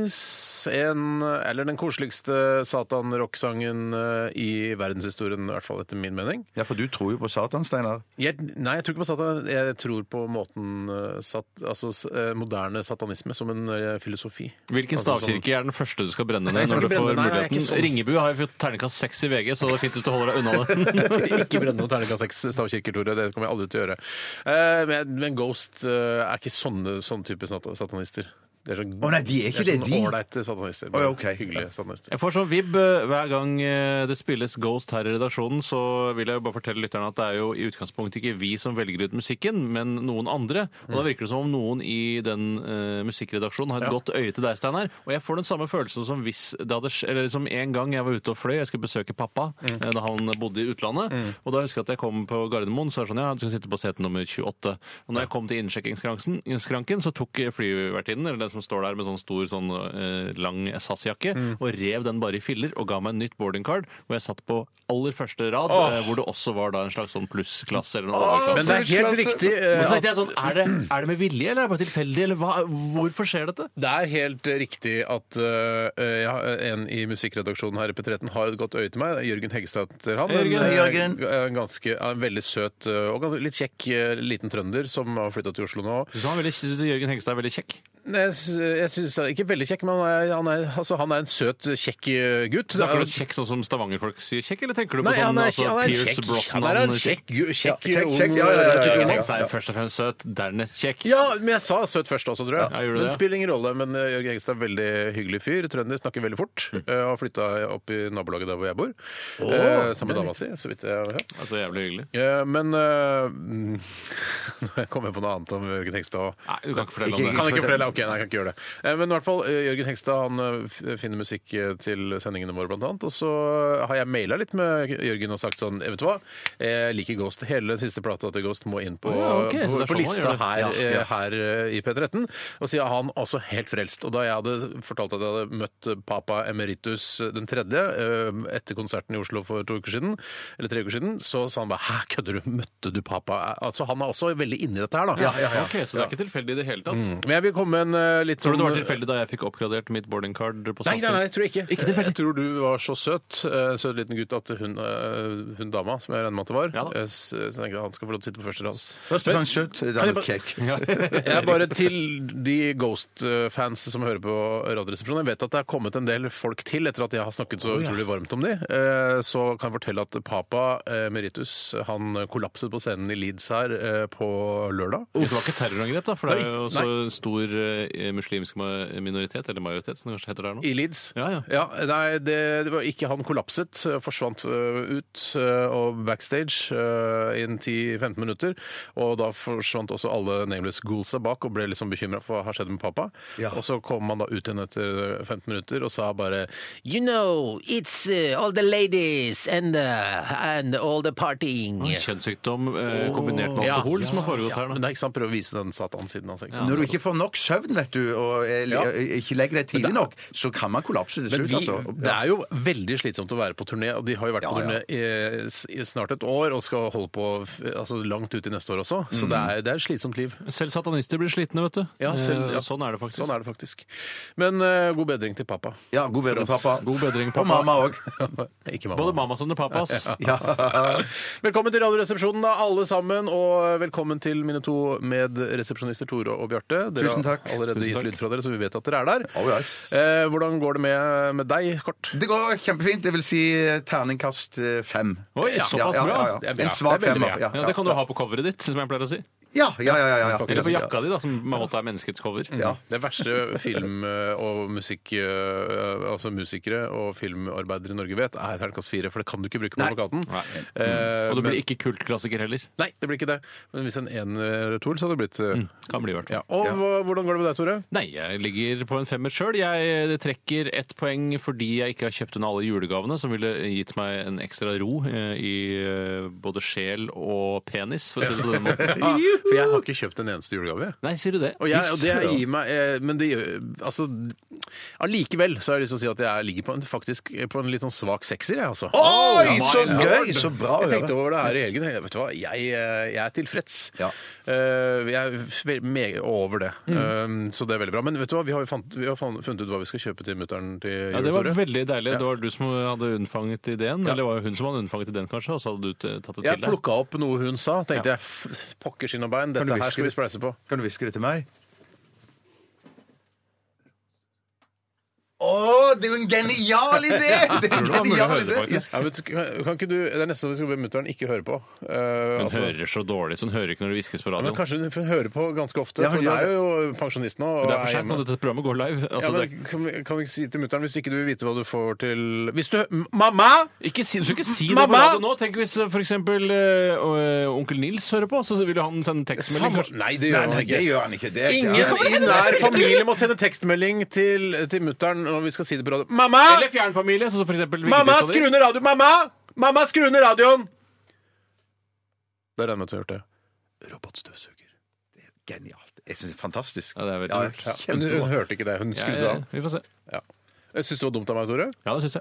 His en, eller den koseligste Satan-rock-sangen eh, i verdenshistorien, i hvert fall etter min mening. Ja, for du tror jo på Satan, Steinar. Jeg, nei, jeg tror ikke på Satan. Jeg tror på måten eh, sat, altså, s- eh, moderne satanisme som en eh, filosofi. Hvilken Altså, stavkirke er den første du skal brenne Nei, jeg ned? skal når du ikke får brenne den, nei, jeg er ikke muligheten? sånn. Ringebu har jo fått terningkast seks i VG, så det er fint hvis du holder deg unna det. Jeg skal ikke brenne noen terningkast seks stavkirker, Tore. Det kommer jeg aldri til å gjøre. Eh, men, men Ghost eh, er ikke sånne, sånne type sat satanister. Det er sånn, Å, nei, de er ikke det, sånn de. ålreite satanister. Å, ja, ok. Hyggelige satanister. Jeg får sånn vib eh, hver gang eh, det spilles Ghost her i redaksjonen, så vil jeg bare fortelle lytterne at det er jo i utgangspunktet ikke vi som velger ut musikken, men noen andre. Og da virker det som om noen i den eh, musikkredaksjonen har et Mm. Ja. godt øye til deg, Steinar. Og jeg får den samme følelsen som hvis det hadde sk- Eller som en gang jeg var ute og fløy, jeg skulle besøke pappa Mm. eh, da han bodde i utlandet. Og da husker jeg at jeg kom på Gardermoen, så er det sånn ja, du skal sitte på sete nummer 28. Og når jeg kom til innsjekkingsskranken, skranken, så tok flyvertinnen, eller den som står der med sånn stor, sånn eh, lang SAS-jakke, Mm. og rev den bare i filler og ga meg en nytt boarding card, hvor jeg satt på aller første rad, eh, hvor det også var da en slags sånn plussklasse eller noe Men det overklasse. er helt riktig. eh, Men så at- tenkte jeg sånn, er det, er det med vilje, eller er det bare tilfeldig, eller hva, hvorfor skjer dette? Det er helt riktig at øh, øh, ja, en i musikkredaksjonen her i P13 har et godt øye til meg. Jørgen Heggestad heter han. Jørgen, en, øh, Jørgen. g- en ganske, ja, en veldig søt øh, og ganske, litt kjekk øh, liten trønder som har flytta til Oslo nå. Du sa han er veldig, Jørgen Hengstad er veldig kjekk. Nei, Jeg, sy- jeg synes, han er Ikke veldig kjekk, men han er, han er, altså, han er en søt, kjekk øh, gutt. Snakker du kjekk sånn som stavangerfolk sier kjekk, eller tenker du på Nei, sånn han er, altså, han er en Pierce kjekk, Brosnan? han er en kjekk, gu- kjekk, Ja, kjekk, kjekk, ung, ja, ja, ja, øh, ja, ja, mann. ja. Hengstad er jo først og fremst søt, dernest kjekk. Ja, men jeg sa søt først også, tror jeg. Ja, gjorde du men det? spiller ingen rolle. Men eh, Jørgen Hegstad er veldig hyggelig fyr. Trønder, snakker veldig fort. Mm. eh, Og har flytta opp i nabolaget der hvor jeg bor. eh, sammen med dama si, så vidt jeg har hørt. Altså, jævlig hyggelig. Eh, men eh, mm, Nå kom jeg på noe annet om Jørgen Hegstad. Nei, du kan ikke fortelle Ikke, om det. kan jeg ikke fortelle? Ok, nei, jeg kan ikke gjøre det. Eh, Men i hvert fall, eh, Jørgen Hegstad han eh, f- finner musikk eh, til sendingene våre, blant annet. Og så eh, har jeg maila litt med Jørgen og sagt sånn, eh, vet du hva, jeg liker Ghost. Hele den siste plata til Ghost må inn på, Å ja, på, ok, så det er på sånn man lista gjør det. her, Ja, eh, ja. her eh, i P13. Og så er han også helt frelst. Og da jeg hadde fortalt at jeg hadde møtt eh, papa emeritus den tredje eh, etter konserten i Oslo for to uker siden, eller tre uker siden, så sa han bare hæ, kødder du, møtte du pappa? Altså, han er også veldig inni dette her, da. Ok, Så det er ikke tilfeldig i det hele tatt? Men jeg vil komme med en eh, litt Tror du det var sånn- tilfeldig da jeg fikk oppgradert mitt boarding card på Nei, SAS? nei, nei, jeg tror ikke. jeg tror du var så søt, eh, søt liten gutt, at hun, eh, hun dama, som jeg regner med at det var, Ja da. eh, s- så tenkte jeg han skal få lov til å sitte på første rad. Først og fremst søt, dernest kjekk. Jeg er bare til de Ghost-fans som hører på Radioresepsjonen. Jeg vet at det er kommet en del folk til etter at jeg har snakket så utrolig varmt om de. Eh, Så kan jeg fortelle at papa eh, Meritus han kollapset på scenen i Leeds her eh, på lørdag. Det var ikke terrorangrep, da, for det er jo Nei, også en stor eh, muslimsk ma- minoritet, eller majoritet, som det kanskje heter der nå. I Leeds. Ja, ja. nei, det, det var ikke han kollapset. eh, Forsvant øh, ut øh, og backstage øh, i en 10-15 minutter. Og da forsvant også alle nameless ghoulsa bak og ble liksom bekymra for hva har skjedd med pappa. Ja. Og så kom han da ut igjen etter 15 minutter og sa bare You know, it's uh, all the ladies and, uh, and all the partying. En Kjønnssykdom eh, kombinert med Ja. alkohol som har foregått her Men nå. det er ikke sant, prøve å vise den satan-siden hans. ikke sant? Når du ikke får nok søvn, vet du, og eh, li- Ja. eh, ikke legger deg tidlig nok, så kan man kollapse til Men slutt, vi, altså. det er jo veldig slitsomt å være på turné, og de har jo vært Ja, på ja. turné i, s- i snart et år og skal holde på f- altså, langt ut i neste år også, Mm. så det er, det er et slitsomt liv. Selv satanister blir slitne, vet du. Ja, selv- Eh, ja. Sånn er det faktisk. Sånn er det faktisk. Men eh, god bedring til pappa. Ja, god bedring, For oss. pappa. God bedring, Og pappa. mamma òg. Ikke mamma. Både mammas og papas. Ja. Velkommen til Radioresepsjonen, da, alle sammen. Og velkommen til mine to medresepsjonister, Tore og Bjarte. Dere Tusen takk. har allerede Tusen gitt takk. lyd fra dere, så vi vet at dere er der. Oh, yes. Eh, hvordan går det med, med deg, kort? Det går kjempefint. Det vil si eh, terningkast eh, fem. Oi, såpass bra. Ja, ja, Det er ja. bra. En svak Det er veldig femmer. bra. Ja, Ja, ja, Det kan du ha på coveret ditt, som jeg pleier å si. Ja, ja, ja. ja, ja. Eller på jakka di, da, som på en måte er menneskets cover. Ja. Det verste film- og musikk... eh, Altså musikere og filmarbeidere i Norge vet, er terningkast fire, for det kan du ikke bruke på Nei. plakaten. Nei. Eh, Og du blir men- ikke kultklassiker heller. Nei, det blir ikke det. Men hvis en en eller to, så hadde det blitt eh, Kan bli, i hvert ja. fall. Og hva- hvordan går det med deg, Tore? Nei, jeg ligger på en femmer sjøl. Jeg trekker ett poeng fordi jeg ikke har kjøpt inn alle julegavene, som ville gitt meg en ekstra ro eh, i eh, både sjel og penis, for å si det på den måten. Ah, for jeg har ikke kjøpt en eneste julegave. jeg. Nei, sier du det? Og, jeg, og det gir meg eh, Men det gjør Altså Allikevel så har jeg lyst til å si at jeg ligger på en, faktisk på en litt sånn svak sekser, jeg, altså. Oi, Ja, så my lord. gøy! Så bra å Jeg tenkte høre. over det her i helgen. Jeg, vet du hva, jeg, eh, jeg er tilfreds. Ja. Mm. Eh, jeg er ve- me- over det. Eh, så det er veldig bra. Men vet du hva, vi har, jo fant, vi har fan- funnet ut hva vi skal kjøpe til mutter'n til jul. Ja, det var Tore. veldig deilig. Det var du som hadde unnfanget ideen. Eller var det hun som hadde unnfanget ideen, kanskje, og så hadde du t- tatt det Jeg til deg? plukka opp noe hun sa. Tenkte jeg f- pokker skinn og bein, dette du her hviske skal vi det? spleise på. Kan du hviske det til meg? Å, det er jo en genial idé! Det er Tror en det var mulig å genial høre det, idé. faktisk. Ja, men, sk- kan ikke du, det er nesten som vi skal be mutter'n ikke høre på. Eh, Hun altså- hører så dårlig, så hun hører ikke når det hviskes på Ja, men radioen. kanskje hun f- hører på ganske ofte, Ja, for hun hun gjør er jo pensjonist nå. Og det er er for seint hjemme. når dette programmet går live. ja, Altså, det men, kan, vi- kan vi ikke si til mutter'n hvis ikke du vil vite hva du får til Hvis du M- Mamma! Ikke si, du skal ikke si det på Mamma! radio nå. Tenk hvis f.eks. Uh, onkel Nils hører på, så vil jo han sende tekstmelding. Samme- kanskje. Nei, det gjør han Nei, det ikke. gjør han ikke. Det, det Ingen i nær familie må sende tekstmelding til, til mutter'n når vi skal si det på radio. Mamma! Eller fjernfamilie. Så for eksempel, Mamma, Vigdis og de. skru ned radioen! Mamma! Mamma, skru ned radioen! Det regner jeg med at du har hørt det. Robotstøvsuger. er genialt. Jeg syns det er fantastisk. Ja, det er veldig Ja, lurt. Ja, men hun, hun hørte ikke det. Hun skrudde Ja, av. vi får se. Ja. Jeg syns det var dumt av meg, Tore. Ja, det syns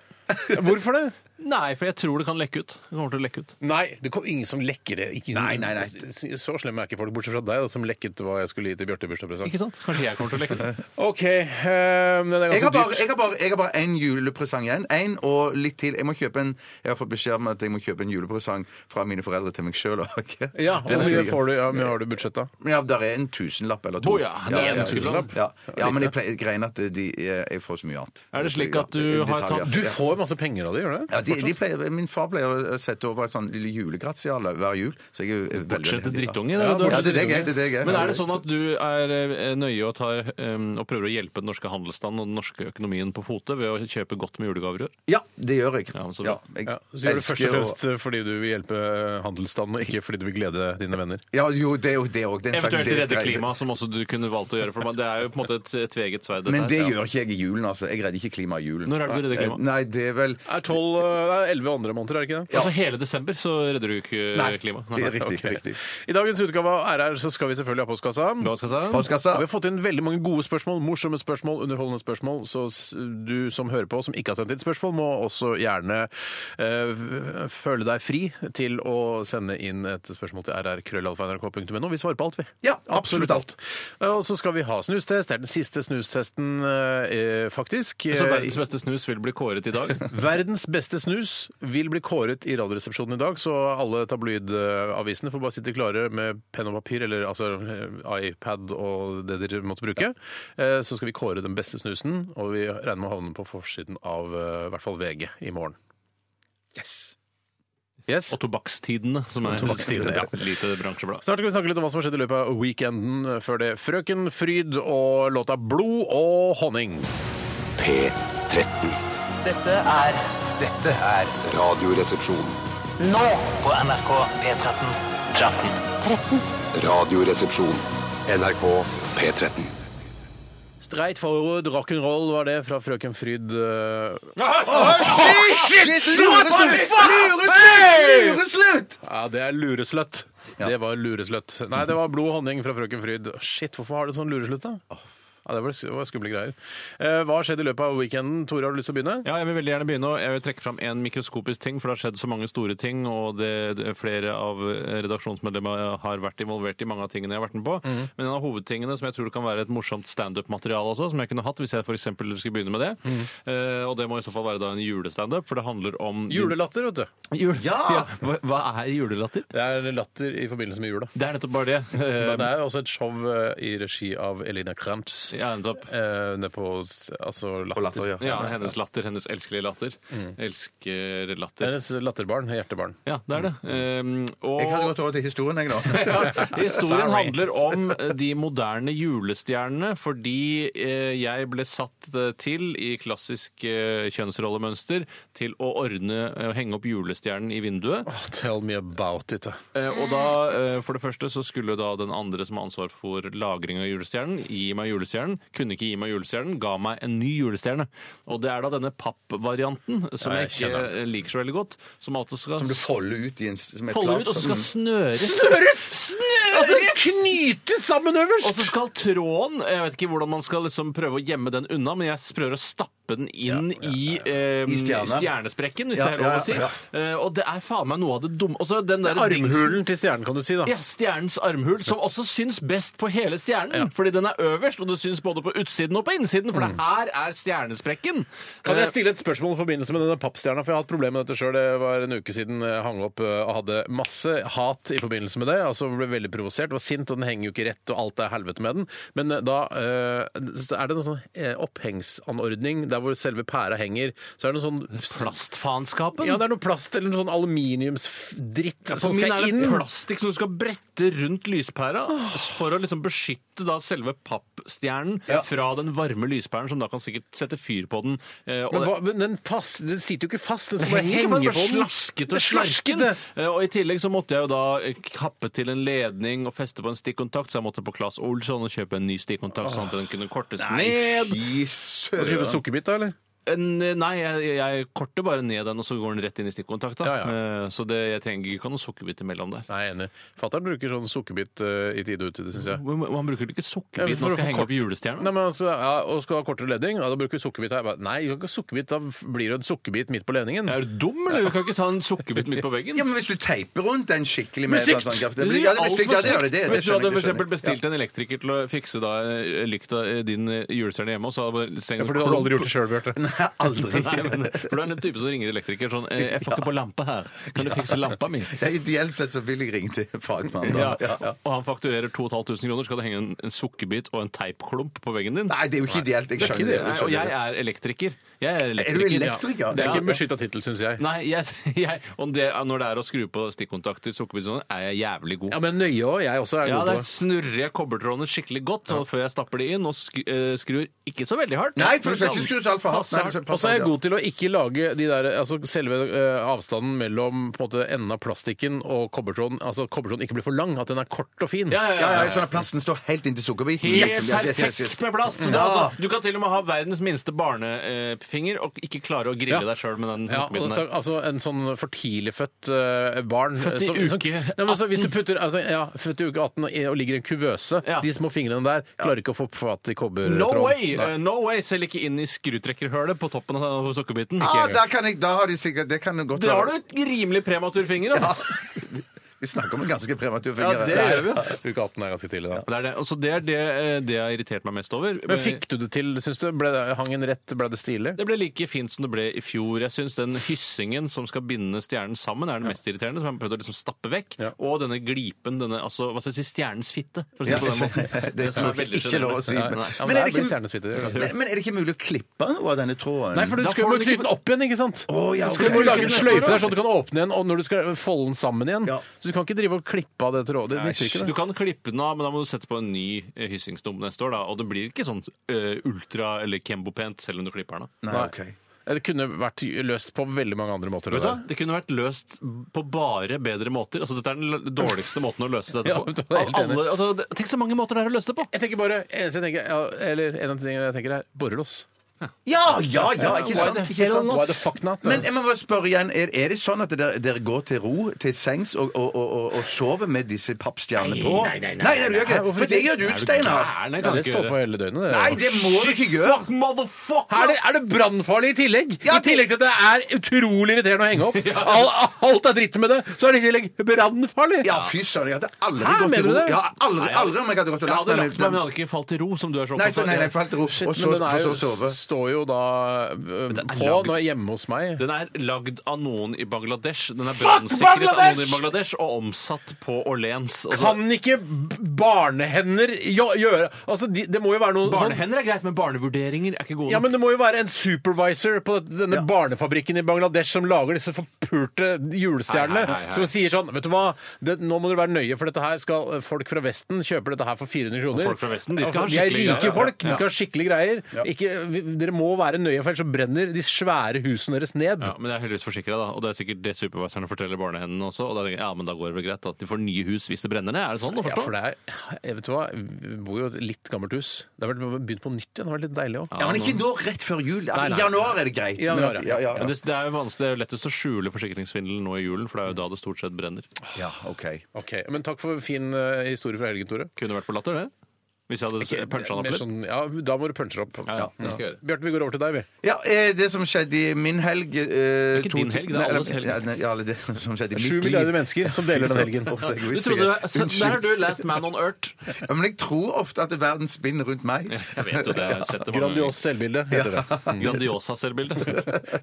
jeg. Hvorfor det? Nei, for jeg tror det kan lekke ut. Det kommer til å lekke ut. Nei, det kom ingen som lekker det. Ikke- Nei, nei, nei. S- Så slemme er ikke folk, bortsett fra deg, da, som lekket hva jeg skulle gi til Bjarte i bursdagspresang. Ikke sant? Kanskje jeg kommer til å lekke det. OK. eh, den er altså, Jeg har ganske bare- dyr. jeg har bare- jeg har bare én julepresang igjen. Én og litt til. Jeg må kjøpe en Jeg har fått beskjed om at jeg må kjøpe en julepresang fra mine foreldre til meg sjøl. Ja, Hvor mye får du? Ja, hvor mye har du i budsjett, da? Ja, der er en tusenlapp eller to. Å ja, det er en tusenlapp. Ja, ja men jeg pleier greien at de, eh, jeg får så mye annet. Er det slik at du Ja, har detaljer. tatt- Du får masse penger av det, gjør du det? Ja, de, de pleier, Min far pleier å sette over et sånn lille julegratial hver jul. Så jeg er jo veldig Bortsett til heldig, da. drittunge. Ja, du har Ja, det er det bortsett jeg er. Det er det jeg er. Men er det sånn at du er eh, nøye og, tar, eh, og prøver å hjelpe den norske handelsstanden og den norske økonomien på fote ved å kjøpe godt med julegaver i år? Ja, det gjør jeg. Ja, men så bra. jeg Ja, så gjør du det først og elsker å- fremst eh, fordi du vil hjelpe eh, handelsstanden, og ikke fordi du vil glede dine venner. Ja, jo, det er jo det òg. Eventuelt redde klimaet, som også du kunne valgt å gjøre. For det er jo på en måte et tveget sverd. dette Men det her. gjør ikke jeg i julen, altså. Jeg redder ikke klimaet i julen. Når er det du redder klimaet? Eh, Nei, det er vel Er 12, det er 11 andre måneder, er det ikke det? Altså Hele desember så redder du ikke eh, Nei, klimaet. det er riktig. Ok. riktig. I dagens utgave av RR så skal vi selvfølgelig ha postkassa. Hva skal jeg si? Postkassa. Og vi har fått inn veldig mange gode spørsmål, morsomme spørsmål, underholdende spørsmål. Så s- du som hører på, som ikke har sendt inn spørsmål, må også gjerne eh, føle deg fri til å sende inn et spørsmål til rrkrøllalfa.nrk.no. Vi svarer på alt, vi. Ja, absolutt alt. Eh, Og så skal vi ha snustest. Det er den siste snustesten, eh, faktisk. Så verdens beste snus vil bli kåret i dag. Verdens beste snus vil bli kåret i Radioresepsjonen i dag, så alle tabloidavisene får bare sitte klare med penn og papir, eller altså eh, iPad og det dere måtte bruke. Eh, Så skal vi kåre den beste snusen, og vi regner med å havne på forsiden av eh, i hvert fall VG i morgen. Yes. Og tobakkstidene, som er tobakkstidene, ja. lite bransjeblad. Snart skal vi snakke litt om hva som har skjedd i løpet av weekenden. eh, Før det Frøken Fryd og låta 'Blod og honning'. P13. Dette er Dette er Radioresepsjon. nå på NRK P13. Radioresepsjon. NRK P13. Straight forward rock'n'roll var det fra Frøken Fryd. eh, Lureslutt! Ja, det er luresløtt. Det var luresløtt. Nei, det var blod og honning fra Frøken Fryd. Shit, hvorfor har du sånn luresløtt, da? Ja, det var, det var skumle greier. Eh, hva har skjedd i løpet av weekenden? Tore, har du lyst til å begynne? Ja, jeg vil veldig gjerne begynne. og Jeg vil trekke fram en mikroskopisk ting, for det har skjedd så mange store ting, og det, det, flere av redaksjonsmedlemmene har vært involvert i mange av tingene jeg har vært med på. Men en av hovedtingene som jeg tror det kan være et morsomt standup-materiale også, som jeg kunne hatt hvis jeg f.eks. skulle begynne med det, eh, og det må i så fall være da en julestandup, for det handler om Julelatter, vet du. Jul. Ja! Hva, hva er julelatter? Det er latter i forbindelse med jula. Det er nettopp bare det. Men Eh, det er også et show eh, i regi av Elina Krantz. Ja, nettopp. eh, ned på s- altså, latter. På latter, ja. eh, Ja, Mm. hennes latter. Hennes elskelige latter. Elsker latter. Hennes latterbarn, hjertebarn. Ja, det er det. Ehm, og Jeg hadde gått over til historien, jeg, nå. ja, historien Sorry. handler om de moderne julestjernene, fordi eh, jeg ble satt eh, til i klassisk eh, kjønnsrollemønster til å ordne eh, å henge opp julestjernen i vinduet. Åh, tell me about it. da. Eh, og da, eh, for det første, så skulle da den andre som har ansvar for lagring av julestjernen, gi meg julestjernen. Kunne ikke gi meg julestjernen, ga meg en ny julestjerne. Og det er da denne pappvarianten, som Ja, jeg jeg ikke kjenner eh, liker så veldig godt, som alltid skal Som du Mm. folder ut i en som et sånn folde blad, ut, og så som- skal snøres. Knyte Altså, sammen øverst! Og så skal tråden Jeg vet ikke hvordan man skal liksom prøve å gjemme den unna, men jeg prøver å stappe den inn i, eh, I stjerna. stjernesprekken, hvis Ja, det er lov ja, å si. ja. Eh, og det er faen meg noe av det dumme Og så den der dingsen- Armhulen til stjernen, kan du si. da Ja, stjernens armhul, som også syns best på hele stjernen. Fordi den er øverst, og det syns både på utsiden og på innsiden, for det her er stjernesprekken. Mm. Kan Eh, jeg stille et spørsmål i forbindelse med denne pappstjerna? For jeg har hatt problemer med dette sjøl. Det var en uke siden jeg hang opp eh, og hadde masse hat i forbindelse med det. Altså ble veldig provosert, var sint, og den henger jo ikke rett, og alt er helvete med den. Men eh, da eh, så er det noen sånn eh, opphengsanordning der hvor selve pæra henger. Så er det noe sånn Plastfaenskapen. Ja, det er noe plast eller noe sånn aluminiumsdritt På som min er skal det inn. plastikk som du skal brette rundt lyspæra for å liksom beskytte da selve pappstjernen fra den varme lyspæren, som da kan sikkert sette fyr på den. Eh, og Men, det- hva, men den, pass, den sitter jo ikke fast. Den det skal bare henger ikke, henge for på den den. ble slasket og Det er slarken. slaskete. Eh, Og i tillegg så måtte jeg jo da eh, kappe til en ledning og feste på en stikkontakt, så jeg måtte på Claes Olsson og kjøpe en ny stikkontakt, sånn at den kunne kortes ned. Fy Skal du kjøpe søren. sukkerbit, da, eller? En- Nei, jeg, jeg korter bare ned den, og så går den rett inn i stikkontakta. Ja, ja. Eh, Så det, jeg trenger ikke ha noen sukkerbit imellom der. Nei, jeg er enig. Fatter'n bruker sånn sukkerbit eh, i tide og utide, syns jeg. Men Man bruker ikke Ja, sukkerbit for å få når man skal henge kort- opp julestjerna. Nei, men altså, ja, og skal ha kortere ledning, ja, da bruker vi sukkerbit her. Jeg Bare, nei, vi kan ikke ha sukkerbit, da blir det en sukkerbit midt på ledningen. Er du dum, eller? Du kan ikke ta en sukkerbit midt på veggen. Ja, men Hvis du teiper rundt den skikkelig med stygt! sånn kraft Det det blir blir- Ja, det blir alt stygt. for Ja, det gjør stygt. det. det, det Hvis du hadde skjønner jeg, for det skjønner eksempel jeg. bestilt en elektriker til å fikse da, eh, lykta eh, din eh, julestjerne hjemme, og så hadde bare sengt Ja, for du hadde aldri gjort det sjøl, Bjarte. Nei, aldri. Nei, men, for du er den type som ringer elektriker sånn eh, 'Jeg får ikke på lampa her. Kan du fikse lampa mi?' Ja, Ideelt sett så vil jeg ringe til fagmannen. Ja. da. Ja, ja. Og han fakturerer 2500 kroner, skal det henge en, en sukkerbit og en teipklump på veggen din? Nei, det er jo ikke ideelt. Jeg Det er ikke skjønner det. det. Nei, jeg og skjønner jeg det. er elektriker. Jeg er Er du elektriker. elektriker? Det er ikke en Ja. beskytta tittel, syns jeg. Nei, jeg, jeg, om det, når det er å skru på stikkontakter, sukkerbit og sånn, er jeg jævlig god. Ja, men nøye òg. Jeg også er Ja, god der på det. snurrer jeg kobbertrådene skikkelig godt sånn, før jeg stapper de inn, og sk eh, skrur ikke så veldig hardt. Nei, for du skal ikke skru så altfor hardt. Nei, Passe så- hardt. Og pass så er jeg hardt, ja. god til å ikke lage de der, altså selve eh, avstanden mellom på en måte, enden av plastikken og kobbertråden. Altså kobbertråden ikke blir for lang, at den er kort og fin. Ja, ja, Ja, ja. ja, sånn at plasten står helt inntil sukkerbiten. Helt liksom. Ja, yes, yes, yes. perfekt med plast! Så det, er altså, du kan til og med ha verdens minste barnefinger eh, og ikke klare å grille Ja. deg sjøl med den Ja, og sukkerbiten så, der. altså En sånn for tidlig født eh, barn Født i som- som- uke Nei, men altså, Hvis du putter altså, ja, født i uke 18 og, og ligger i en kuvøse, Ja. de små fingrene der klarer ikke å få fatt i kobbertråden. No way! Nei. Eh, no way! Selv ikke inn i skrutrekkerhølet på toppen av sukkerbiten. Ah, der kan jeg, da har de sikkert Det kan jo godt Da har du et rimelig prematur finger, ass! Vi snakker om en ganske prematur finger. Ja, det Nei. gjør vi, ass. Uke 18 er ganske tidlig, da. Det er det. Altså, det, er det, eh, det jeg har irritert meg mest over. Men fikk du det til, syns du? Ble det, hang en rett? Ble det stilig? Det ble like fint som det ble i fjor. Jeg syns den hyssingen som skal binde stjernen sammen, er den mest irriterende, som jeg har prøvd å liksom stappe vekk. Ja. Og denne glipen, denne altså, hva skal jeg si, stjernens fitte, for å si Ja, det på den måten. det som tror jeg veldig ikke er lov å si. generelt. Men, Nei, Ja, men, der er det blir ikke, stjernesfitte. men, men er det ikke mulig å klippe noe av denne tråden? Nei, for du Da skal får jo du ikke- knyte den opp igjen, ikke sant? Å, ja, skal ok. du må lage en Neste sløyfe år, da. der, sånn at du kan åpne igjen, og når du skal folde den sammen igjen. Ja. Så du kan ikke drive og klippe av det trådet. Det nytter ikke, Du det. kan klippe den av, men da må du sette på en ny eh, hyssingsdump neste år. da, Og det blir ikke sånn eh, ultra- eller kembopent selv om du klipper den av. Nei, ok. Det kunne vært løst på veldig mange andre måter. det Vet du hva? der. Det kunne vært løst på bare bedre måter. Altså, dette er den l- dårligste måten å løse dette Ja, på. vet du hva, jeg er helt Av alle, altså, det- tenk så mange måter det er å løse det på! Jeg tenker bare, eneste jeg tenker, ja, eller En av tingene jeg tenker, er borrelås. Ja, ja, ja, ikke Why sant? the Ikke hell sant? not? Why the fuck not? Men jeg må bare spørre igjen, er, er det sånn at dere, dere går til ro til sengs og, og, og, og, og sover med disse pappstjernene på? Nei, nei, nei, du gjør ikke det. For det gjør du, Steinar. Gæren, Ja, jeg kan det ikke står gjøre. på hele døgnet. det. Nei, det må du ikke gjøre. Fuck, motherfucker! Er det, er det brannfarlig i tillegg? Ja, I tillegg til at det er utrolig irriterende å henge opp. Al- alt er dritt med det, så er det i tillegg brannfarlig. Ja, fy søren, jeg hadde aldri Hæ, gått mener til du ro. det? Ja, aldri, aldri om jeg hadde gått og Jeg lagt hadde meg lagt meg, men jeg ned. hadde ikke falt til ro, som du er så Nei, opptatt sånn så, av. nei, nei, falt til ro, Shit, og så, men den for er så jo å sove. står jo da eh, det er på lagd- når jeg er hjemme hos meg. Den er lagd av noen i Bangladesh. Den er brannsikret av noen i Bangladesh og omsatt på Orleans. Altså, Kan ikke b- barnehender jo- gjøre Altså, de, det må jo være noe sånn barnehender er greit, men barnevurderinger er ikke gode Ja, nok. men det må jo være en supervisor på denne barnefabrikken i Bangladesh som lager disse forpulte julestjernene, som sier sånn Vet du hva, det, nå må dere være nøye, for dette her skal eh, folk fra Vesten kjøpe dette her for 400 kroner. folk fra Vesten, de skal ha Altså, er skikkelig rike greier. folk, de skal ha skikkelige greier. Ikke, vi, dere må være nøye, for ellers så brenner de svære husene deres ned. Ja, men jeg er heldigvis forsikra, da. Og det er sikkert det superviserne forteller barnehendene også. Og da tenker jeg, ja, men da går det vel greit at de får nye hus hvis det brenner ned. Er det sånn å Ja, forstå? for det er, jeg vet du hva, Vi bor jo i et litt gammelt hus. Det har vært begynt på nytt igjen. Det var litt deilig òg. Ja, men ikke nå rett før jul. Nei, nei. I januar er det greit. I januar, men at- ja. ja, Men ja. det, det er jo vanskelig, det er jo lettest å skjule forsikringssvindelen nå i julen, for det er jo da det stort sett brenner. ja OK. Ok, Men takk for fin eh, historie fra helgen, Tore. Kunne vært på latter, det. Hvis jeg hadde puncha den Mer opp litt. sånn- ja, da må du punche opp. Ja, ja, det skal jeg gjøre. Bjarte, vi går over til deg, vi. Ja, eh, det som skjedde i min helg eh, Ikke to- din helg, det er Nei, alles eller- helg. Ja, nei, ja, eller det som skjedde i mitt Sju liv. milliarder mennesker som deler den helgen. Uff, så Du egoistisk. trodde altså, du, så, der er Unnskyld. du last man on earth. Ja, men jeg tror ofte at verden spinner rundt meg. Jeg vet jo det. Jeg har sett det mange Grandios selvbilde heter det. ganger. Grandiosa-selvbilde.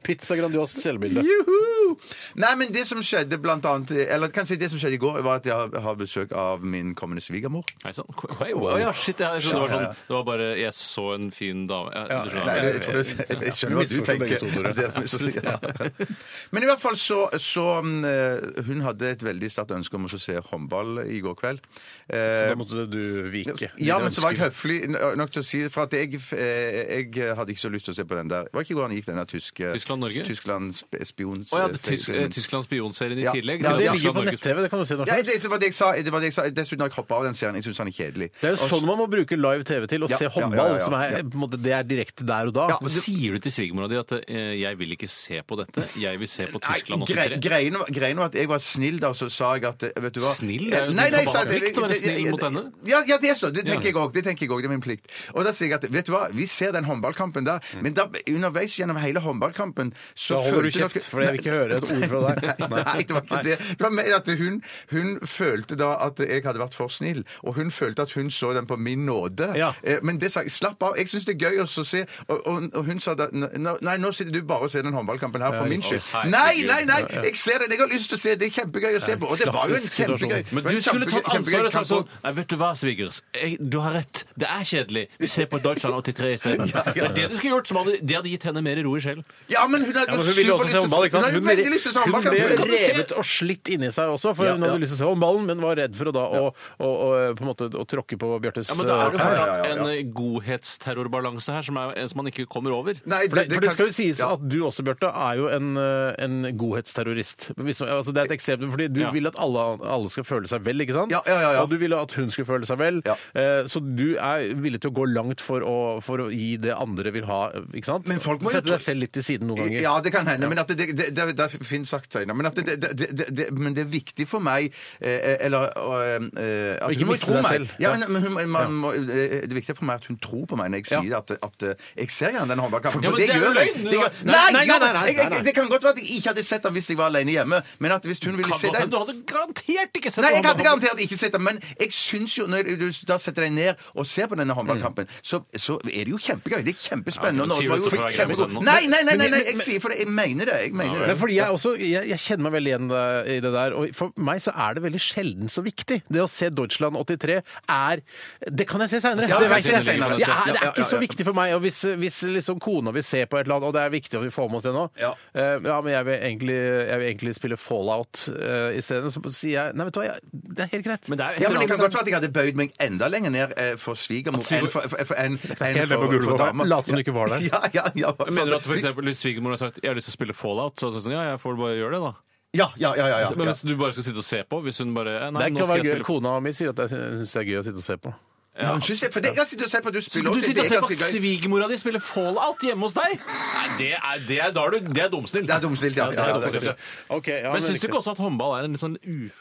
Pizza Grandios selvbilde. Juhu! Nei, men det som skjedde blant annet Eller kanskje det som skjedde i går, var at jeg har- har besøk av min kommende svigermor. Hei sann. Oi, oi, ja, shit, jeg trodde det var sånn Det var bare Jeg så en fin dame Ja, du skjønner. Nei, det, jeg, tror det, jeg, jeg skjønner hva du Misforstå begge to, Tore. tenker. Det er misforstå- ja. Men i hvert fall så, så mm, eh, Hun hadde et veldig sterkt ønske om å se håndball i går kveld. Så Eh, da måtte du vike. Ja, men så var jeg høflig nok til å si det. For at jeg, eh, jeg hadde ikke så lyst til å se på den der. Det var ikke i går han gikk den der tyske Tyskland-Norge? Tyskland sp- spion... Å ja, det er Tysk, eh, Tysklands spionserien i Ja. tillegg. Ja, til Det ligger på at Tyskland- Norge- nett-TV, det kan du si når Ja, som det, helst. det var det jeg sa. Det var det jeg sa. Dessuten har jeg hoppa av den serien. Jeg syns han er kjedelig. Det er jo sånn man må bruke live-TV til, å Ja, se ja, ja, håndball. ja, ja. Som er, på en måte, det er direkte der og da. Ja, Men Sier du til svigermora di at eh, 'jeg vil ikke se på dette', 'jeg vil se på Tyskland Nei, grei- 83'? Greien var, greien var at jeg var snill da, og så sa jeg at eh, vet du hva Snill? Det er jo Nei, nei, din sa jeg- forbanna plikt å være det- det- snill mot henne. Ja, ja, det er så. Det tenker Ja. jeg òg. Det tenker jeg også, det er min plikt. Og da sier jeg at vet du hva, vi ser den håndballkampen der, Mm. men da, underveis gjennom hele håndballkampen så Da holder følte du kjeft, nok- for jeg vil ikke høre et ord fra deg. Nei, det var ikke det. Det var mer at hun, hun følte da at jeg hadde vært for snill, og hun følte at hun så den på min nåde. Ja. Eh, Men det sa jeg, slapp av, jeg syns det er gøy å så se og, og, og hun sa da "Nå- Nei, nå sitter du bare og ser den håndballkampen her for min skyld. Å, herregud. Nei, nei, nei! Jeg ser den, jeg har lyst til å se, det er kjempegøy å se på. Og det var jo en klassisk situasjon. kjempegøy Men det var du en skulle tatt kjempegøy- kjempegøy ansvaret og sagt kamp sånn Nei, vet du hva, svigers. Jeg, du har rett. Det er kjedelig. Vi ser på Deutschland 83 isteden. Ja, ja. Det er det du skulle gjort. Som hadde, det hadde gitt henne mer ro i sjelen. og- Ja, men hun hadde Ja, men hun ville jo også se håndball, ikke sant? Hun hadde veldig lyst til å se hun ble håndballkampen. revet og slitt inni seg også, for Ja, hun hadde ja. lyst til å se håndballen, men var redd for å da å, å, å, på en måte, å tråkke på Bjartes Ja, men da er det eh, tær. ja, ja, fortsatt ja. en eh, godhetsterrorbalanse her som, er, som man ikke kommer over. Nei, For det, for det kan- skal jo sies Ja. at du også, Bjarte, er jo en, eh, en godhetsterrorist. Hvis, man- altså det er et eksempel, fordi Du Ja. vil at alle, alle skal føle seg vel, ikke sant? Ja, ja, ja, ja. Og du ville at hun skulle føle seg vel. Ja. Eh, Så du er villig til å gå langt for å, for å gi det andre vil ha. ikke sant? Men folk må jo Sette tro- deg selv litt til siden noen ganger. Ja, det kan hende. Men at det, det, det, det, det finnes sagt senere. Men, at det, det, det, det, det, men det er viktig for meg eh, Eller eh, eh, at Og ikke hun må miste tro deg meg. selv. Ja, Ja. men, men hun, man, må, eh, det er viktig for meg at hun tror på meg når jeg sier at, at eh, jeg ser gjerne den håndballkampen. Ja, For men det det er jo gjør jeg. løgn, Det du gjør- har- Nei, Nei, nei, ja, nei, men nei, jeg- jeg- nei, nei. Det kan godt være at jeg ikke hadde sett den hvis jeg var alene hjemme, men at hvis hun ville Kan se godt hende den Du hadde garantert ikke sett Nei, jeg noe hadde garantert ikke sett den, men jeg syns jo når du da setter deg ned og ser på denne håndballkampen, så, så er det jo kjempegøy. Det er kjempespennende. Mm. Ja, ok, men og sier Norge du ikke var jo for å være grei mot kjempegod. henne nå? Nei, nei, nei, nei, Men- nei, men- jeg sier for det. Jeg mener det. Jeg mener det. Men fordi jeg, også, jeg, jeg kjenner meg veldig igjen eh, i det der. Og for meg så er det veldig sjelden så viktig. Det å se Deutschland 83 er Det kan jeg se seinere! Ja, det, kan vet jeg jeg se senere. Ja, senere. det Ja, er ja, ikke ja, så ja. viktig for meg. Og hvis, hvis liksom kona vil se på et eller annet, og det er viktig at vi får med oss det nå Ja. eh, ja men jeg vil, egentlig, jeg vil egentlig spille Fallout uh, isteden. Så sier jeg Nei, vet du hva, jeg, det er helt greit. Men det er Ja, men Det kan helt godt være at jeg hadde bøyd meg enda lenger ned eh, for svigermor enn for, for, for, enn- enn Jeg vet hvor for, du for var. dama. Lat som du ikke var der. Ja, ja, ja, ja, Mener du at for eksempel, Hvis svigermor har sagt 'jeg har lyst til å spille Fallout', så er det sånn 'ja, jeg får bare gjøre det', da. ja, ja, ja, ja, ja. Men hvis du bare skal sitte og se på Hvis hun bare eh, nei, det nå kan skal være jeg gøy. spille Kona mi sier at jeg syns det er gøy å sitte og se på. Ja, hun synes det, for det, jeg sitter og ser på at du Skal spiller du også, sitte og det er se på ganske gøy. svigermora di spille Fallout hjemme hos deg? Nei, det er, det er, da er, du, det er dumstilt. Det er dumstilt, ja. det Ja, er ja, det er dumstilt. Ok, ja, men syns du riktig. ikke også at håndball er en litt sånn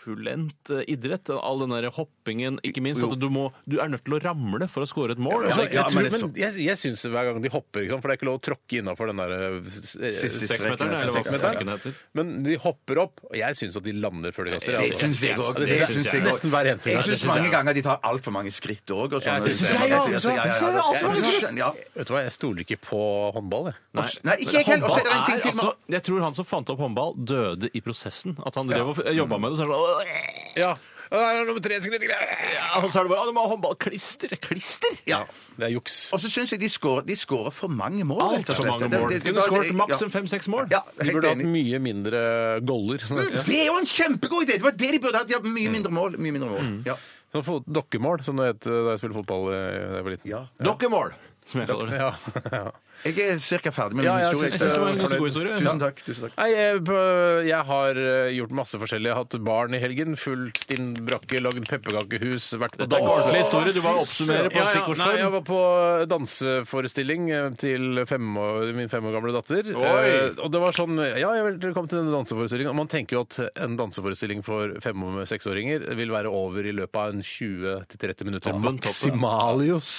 ufullendt eh, idrett? All den der hoppingen, ikke minst. At du, må, du er nødt til å ramle for å score et mål. Altså, Altså, jeg, tror, men det er men jeg, jeg syns hver gang de hopper, ikke sant, for det er ikke lov å tråkke innafor den der eh, s- eh, Siste seks- streken, meter, eller hva seks- streken meter. heter. Men de hopper opp, og jeg syns at de lander før de kaster. Det altså. synes jeg også. Ja, det Det synes synes jeg jeg Nesten hver eneste Jeg gang. syns mange ganger de tar altfor mange skritt òg. òg og sånn. Jeg synes det. Ja, ja, ja, ja, ja, ja, ja. Jeg synes- Skjønner, ja. Vet du hva, jeg stoler ikke på håndball, jeg. Nei, ikke jeg heller. Og så er det en ting til. altså, jeg tror han som fant opp håndball, døde i prosessen. At han drev og jobba med det. Så er det sånn, Ja. Å, det er Nummer tre skritt greier. «Åh!» og så er det bare «Åh, du må ha håndball. Klister! Klister! Ja. Det er juks. Og så syns jeg de scorer, de scorer for mange mål. rett Altfor og slett. mange Det- mål. det- det- Kunne skåret ja. maks en fem-seks mål. Ja, De helt burde hatt enig. Mm. mye mindre goller. Sånn at- Det er jo en kjempegod idé! Det var det de burde hatt. De har Mm. mye mindre mål. Mye mindre mål. Ja. Sånn fot- dokkemål, som det het da jeg spilte fotball eh, da jeg var liten. Ja. Dokkemål! Som jeg kaller det. Ja, ja. Jeg er cirka ferdig med min Ja, jeg synes- historie. Jeg synes det var en ganske god historie. Tusen takk. Tusen takk. Nei, jeg, på- jeg har eh, gjort masse forskjellig. Jeg har hatt barn i helgen, fullt stinn brakke, lagd pepperkakehus, vært på Dette er en dans. ordentlig historie. Du var oppsummerer altså- Ja, på ja, nei, jeg stikkordsform. var på danseforestilling eh, til fem år, min fem år gamle datter. Oi! Eh, og det var sånn Ja, jeg vil komme til denne danseforestillingen. Og man tenker jo at en danseforestilling for fem- og seksåringer vil være over i løpet av en 20-30 minutter. Toppen, toppen. Maximalius.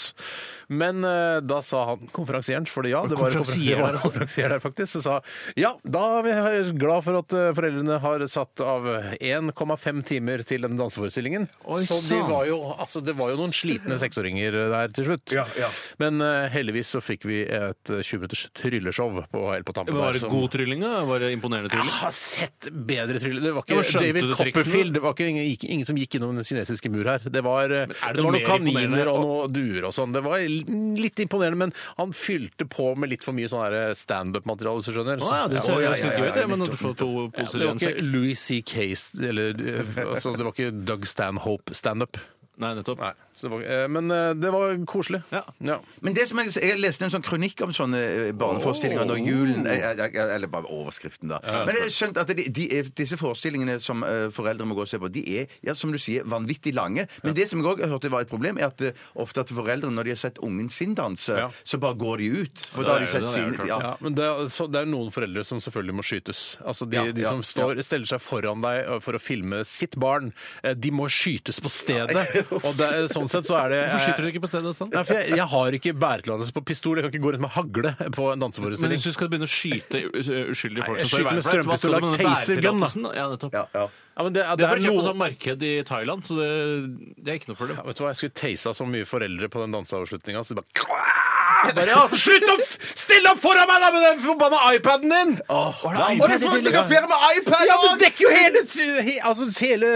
Men eh, da sa han konferansieren, for det ja, det var Konferansier, det var en konferansier der faktisk, som sa ja, da er vi glad for at eh, foreldrene har satt av 1,5 timer til denne danseforestillingen. Oi, sånn. så de sann. var jo, altså, det var jo noen slitne seksåringer eh, der til slutt. Ja, ja. Men eh, heldigvis så fikk vi et eh, 20 minutters trylleshow på, helt på tampen. der, Var det som- god trylling? da? Var det imponerende jeg trylling? har sett bedre thriller. Det var Ja, ikke men skjønte David du triksene? Copperfield. Det var ikke ingen, ikke- ingen som gikk innom den kinesiske mur her. Det var, eh, det er det var noe noen mer kaniner imponerende? og noen duer og sånn. Det var litt imponerende, men han fylte på med litt for mye sånn her standup-materiale, hvis du skjønner. Å, ja, det ser Ja, ja, ganske ja, gøy ja, ut, det, men nettopp, du får to nettopp. Ja, poser i en Det var sekk. ikke Louis C.K. st- eller eh, altså, Det var ikke Doug Stanhope-standup. Nei, nettopp. Nei. Så det var, eh, men eh, det var koselig. Ja. ja. Men det som jeg, jeg leste en sånn kronikk om sånne eh, barneforestillinger når julen eh, eh, Eller bare overskriften, da. Men jeg har skjønt at de, de, er- disse forestillingene som eh, foreldre må gå og se på, de er ja, som du sier, vanvittig lange. Men det som jeg òg hørte var et problem, er at eh, ofte at foreldre, når de har sett ungen sin danse, Ja. så bare går de ut. For Ja, da har det de er- sett det har sin jeg hørt, ja. Ja, men det er, så det er noen foreldre som selvfølgelig må skytes. Altså De, Ja, de ja, som står, steller seg foran deg eh, for å filme sitt barn, eh, de må skytes på stedet. Og det, er- sånn sett så er det eh, Hvorfor skyter du ikke på stedet? Sånn? Nei, for jeg, jeg har ikke bæretillatelse på pistol. Jeg kan ikke gå rundt med hagle på en Men hvis danseforestilling. du skal begynne å skyte u- uskyldige folk Nei, som står i skyte veien med for deg, hva skal du strømpistol, med den like tasergun, da. bærertillatelsen? Ja, nettopp. Ja, ja. Ja, men det, er- Det det er er kjøpt på noe sånn marked i Thailand, så det, det er ikke noe problem. ja, Vet du hva, Jeg skulle tasa så mye foreldre på den danseavslutninga, så de bare, bare ja, Slutt å f- stille opp foran meg da med den forbanna iPaden din! Og de fotograferer med iPad! Ja, men det dekker jo hele, he, altså, hele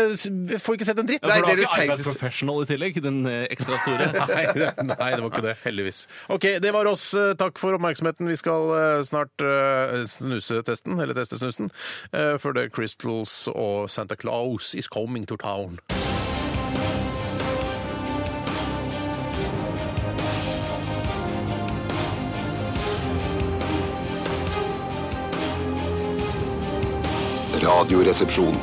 Får ikke sett en dritt. Ja, for Nei, det du du har ikke iPad tenkte- Professional i tillegg, den eh, ekstra store. Nei, det- nei, det var ikke det. Heldigvis. OK, det var oss. Eh, Takk for oppmerksomheten. Vi skal eh, snart eh, snuse testen, eller teste snusen, eh, for det er Crystals og Santa Claus is coming to town. Radioresepsjon.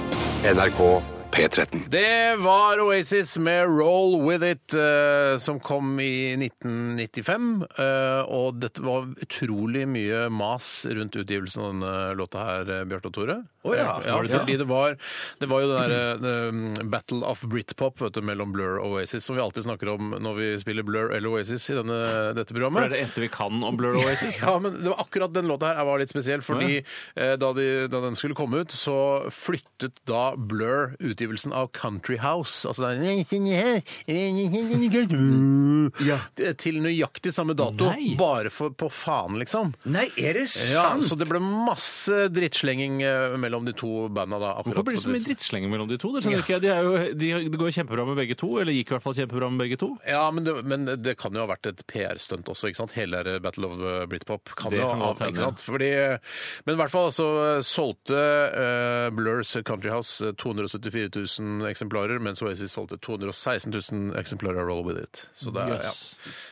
NRK P13. Det var Oasis med 'Roll With It', eh, som kom i 1995. eh, og dette var utrolig mye mas rundt utgivelsen av denne låta her, eh, Bjarte og Tore. Å ja, ja, var det fordi det var, det var jo den derre eh, Battle of Britpop vet du, mellom Blur og Oasis, som vi alltid snakker om når vi spiller Blur eller Oasis i denne, dette For det er programmet. det eneste vi kan om Blur Oasis. Ja, men det var akkurat den låta her var litt spesiell, fordi eh, da, de, da den skulle komme ut, så flyttet da Blur utgivelsen av Country House, altså den til nøyaktig samme dato, Nei. bare for, på faen, liksom. Nei, er det sant? Ja, altså, så det ble masse drittslenging eh, mellom de to banda da. akkurat Hvorfor blir det på så mye tidspunktet. drittslenging mellom de to? Det skjønner ikke jeg. De er jo, de, det går kjempebra med begge to, eller gikk i hvert fall kjempebra med begge to. Ja, men det, men det kan jo ha vært et PR-stunt også, ikke sant? Hele der Battle of eh, Britpop kan Det jo kan ha godt hende. ikke sant? Fordi, men i hvert fall så solgte eh, Blurs Country House eh, 274 000 eksemplarer, mens Oasis solgte 216 000 eksemplarer av Roll With It. Så det er, Jøss.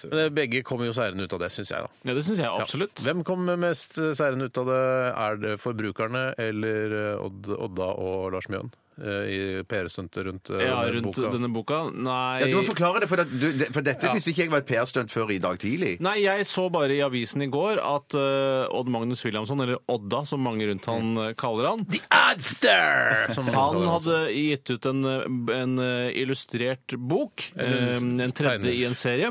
ja. Men eh, begge kommer jo seirende ut av det, syns jeg, da. Ja, det syns jeg absolutt. Hvem kommer mest eh, seirende ut av det? Er det forbrukerne eller eh, Odd, Odda og Lars Mjøen? eh, I PR-stuntet rundt, eh, Ja, denne rundt boka? denne boka. Nei Ja, du må forklare det, for, at du, det- for dette visste ikke jeg var et PR-stunt før i dag tidlig. Nei, jeg så bare i avisen i går at eh, Odd Magnus Williamson, eller Odda som mange rundt han eh, kaller han Adster! Som Han hadde gitt ut en, en eh, illustrert bok, eh, En- en tredje tegner. i en serie.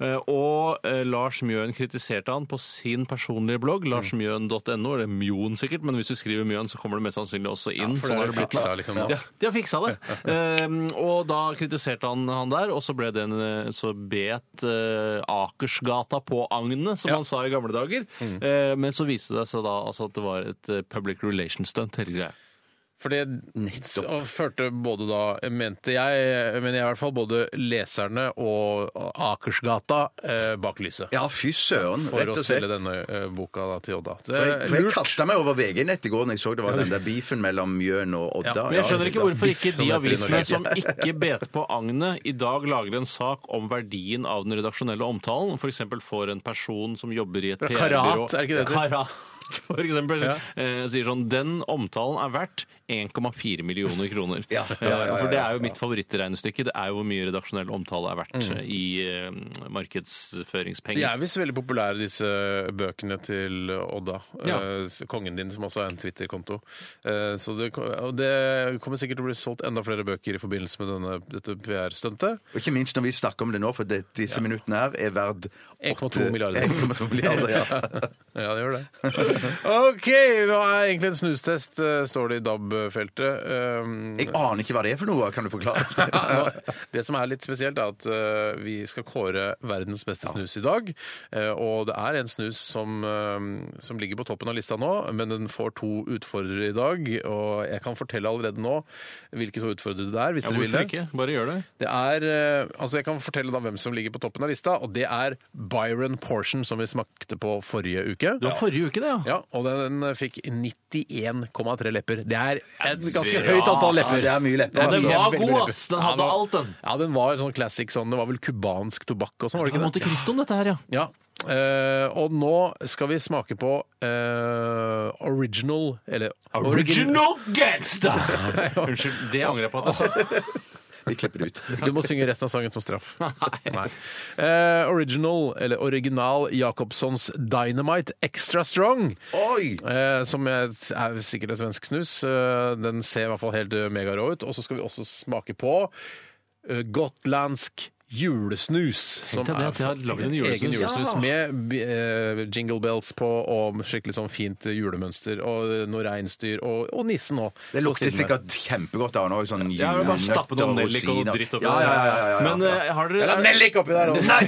Eh, Og eh, Lars Mjøen kritiserte han på sin personlige blogg, Mm. larsmjøen.no, eller Mjøen sikkert, men hvis du skriver Mjøen, så kommer det mest sannsynlig også inn. for det sånn er har det blitt. fiksa, liksom. De, de har fiksa det. Ehm, og da kritiserte han han der, og så ble det en eh, så bet eh, Akersgata på agnet, som han sa i gamle dager. Eh, men så viste det seg da altså, at det var et eh, public relations stunt, hele greia. For det og førte både da, mente jeg, men jeg i hvert fall både leserne og Akersgata eh, bak lyset. Ja, fy søren. For Rett å og selge slett. denne eh, boka da, til Odda. Så, For jeg, for jeg Eh, lurt. kasta meg over VG-nett i går når jeg så det var den der beefen mellom Mjøen og Ja, Odda. men Men jeg skjønner ikke Odda. hvorfor ikke de Biff, som heter avisene det i som ikke bet på agnet, i dag lager en sak om verdien av den redaksjonelle omtalen. F.eks. får en person som jobber i et PR-byrå Karat, er det ikke det det heter? Karat, for eksempel. Ja. Eh, sier sånn Den omtalen er verdt 1,4 millioner kroner. Ja, ja, ja, ja, Eh, For det er ja. jo mitt favorittregnestykke. Det er jo hvor mye redaksjonell omtale er verdt eh, i eh, markedsføringspenger. De Mm. er visst veldig populære, disse bøkene til Odda. Ja. Eh, s- Kongen din, som også er en Twitter-konto. Eh, Så det, ko- og det kommer sikkert til å bli solgt enda flere bøker i forbindelse med denne, dette PR-stuntet. Og ikke minst når vi snakker om det nå, for det, disse minuttene her er verd 1,2 milliarder. 1,2 milliarder, ja. Ja, det gjør det. OK, hva er egentlig en snustest, eh, står det i DAB-feltet. Um, Jeg aner ikke hva det er for noe, kan du forklare? Ja, nå, det som er litt spesielt, er at eh, vi skal kåre verdens beste snus i dag. Eh, og det er en snus som, eh, som ligger på toppen av lista nå, men den får to utfordrere i dag. Og jeg kan fortelle allerede nå hvilke to utfordrere det er, hvis Ja, dere vil hvorfor det. ikke? Bare gjør det. Det er, eh, altså Jeg kan fortelle da hvem som ligger på toppen av lista, og det er Byron Portion, som vi smakte på forrige uke. Det var forrige uke, det, ja. Ja, Og den den fikk 91,3 lepper. Det er et ganske Bra. høyt antall Ja, lepper. det er mye lepper. Ja, den altså. var Veldig, god, veldig ass! Den lepper. hadde alt, den. Ja, den var sånn classic sånn. Det var vel cubansk tobakk og sånn, var Det det er ikke Monte det? Cristo, dette her, ja. Ja. Eh, og nå skal vi smake på eh, original Eller Original gangster! Unnskyld, det angrer jeg på at jeg sa. Vi klipper det ut. Du må synge resten av sangen som straff. Nei. Eh, original, eller original Jacobsons Dynamite Extra Strong. Oi! Eh, som er, er sikkert en svensk snus. Eh, den ser i hvert fall helt eh, megarå ut. Og så skal vi også smake på eh, gotlandsk julesnus. Som deg det at jeg har lagd en julesnus. egen julesnus Ja. med eh, jingle bells på og skikkelig sånn fint eh, julemønster. Og eh, noe reinsdyr. Og, og nissen òg. Det lukter sikkert kjempegodt av den òg. Sånn Jeg har jo bare julenøtter stappet noen og nellik og rosiner. noe dritt oppi ja, ja, ja, ja, ja, ja. Men eh, har Det dere er nellik oppi der også. Nei!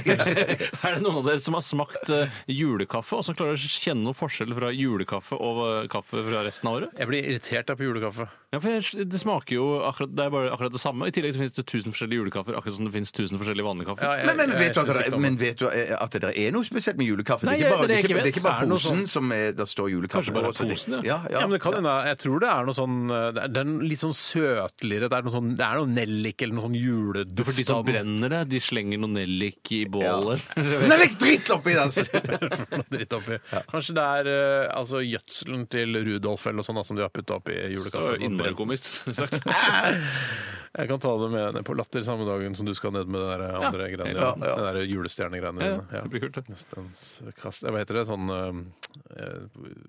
Er det noen av dere som har smakt eh, julekaffe, og som klarer å kjenne noen forskjell fra julekaffe og eh, kaffe fra resten av året? Jeg blir irritert av på julekaffe. Ja, for jeg- Det smaker jo akkurat det, er bare akkurat det samme. I tillegg så fins det 1000 forskjellige julekaffer, akkurat som det fins 1000 forskjellige vanlige kaffer. Ja, jeg- Men, men, jeg vet du at synes ikke det, om men vet du eh, at det der er noe spesielt med julekaffe? Nei, det er ikke bare, det er det jeg det ikke er ikke vet. bare Er det noe posen som er, der står julekaffe Kanskje bare på, så det- posen, ja. Ja, Ja, men det kan hende. Jeg tror det er noe sånn Det er, det er litt sånn søtligere. Det er noe, sånn, det er noe nellik eller noe sånn juleduft. For de som av den. brenner det, de slenger noe nellik i bålet. Nei, legg dritt oppi den! Noe dritt oppi. Kanskje det er eh, altså gjødselen til Rudolf eller noe sånt da, som de har putta oppi Så julekaffen. Innmari komisk sagt. Jeg kan ta det med ned på latter samme dagen som du skal ned med det der eh, andre greiene. ja, ja. Det der julestjernegreiene Ja, dine. det blir kult, det. Nestens kast- eh, Hva heter det? Sånn eh,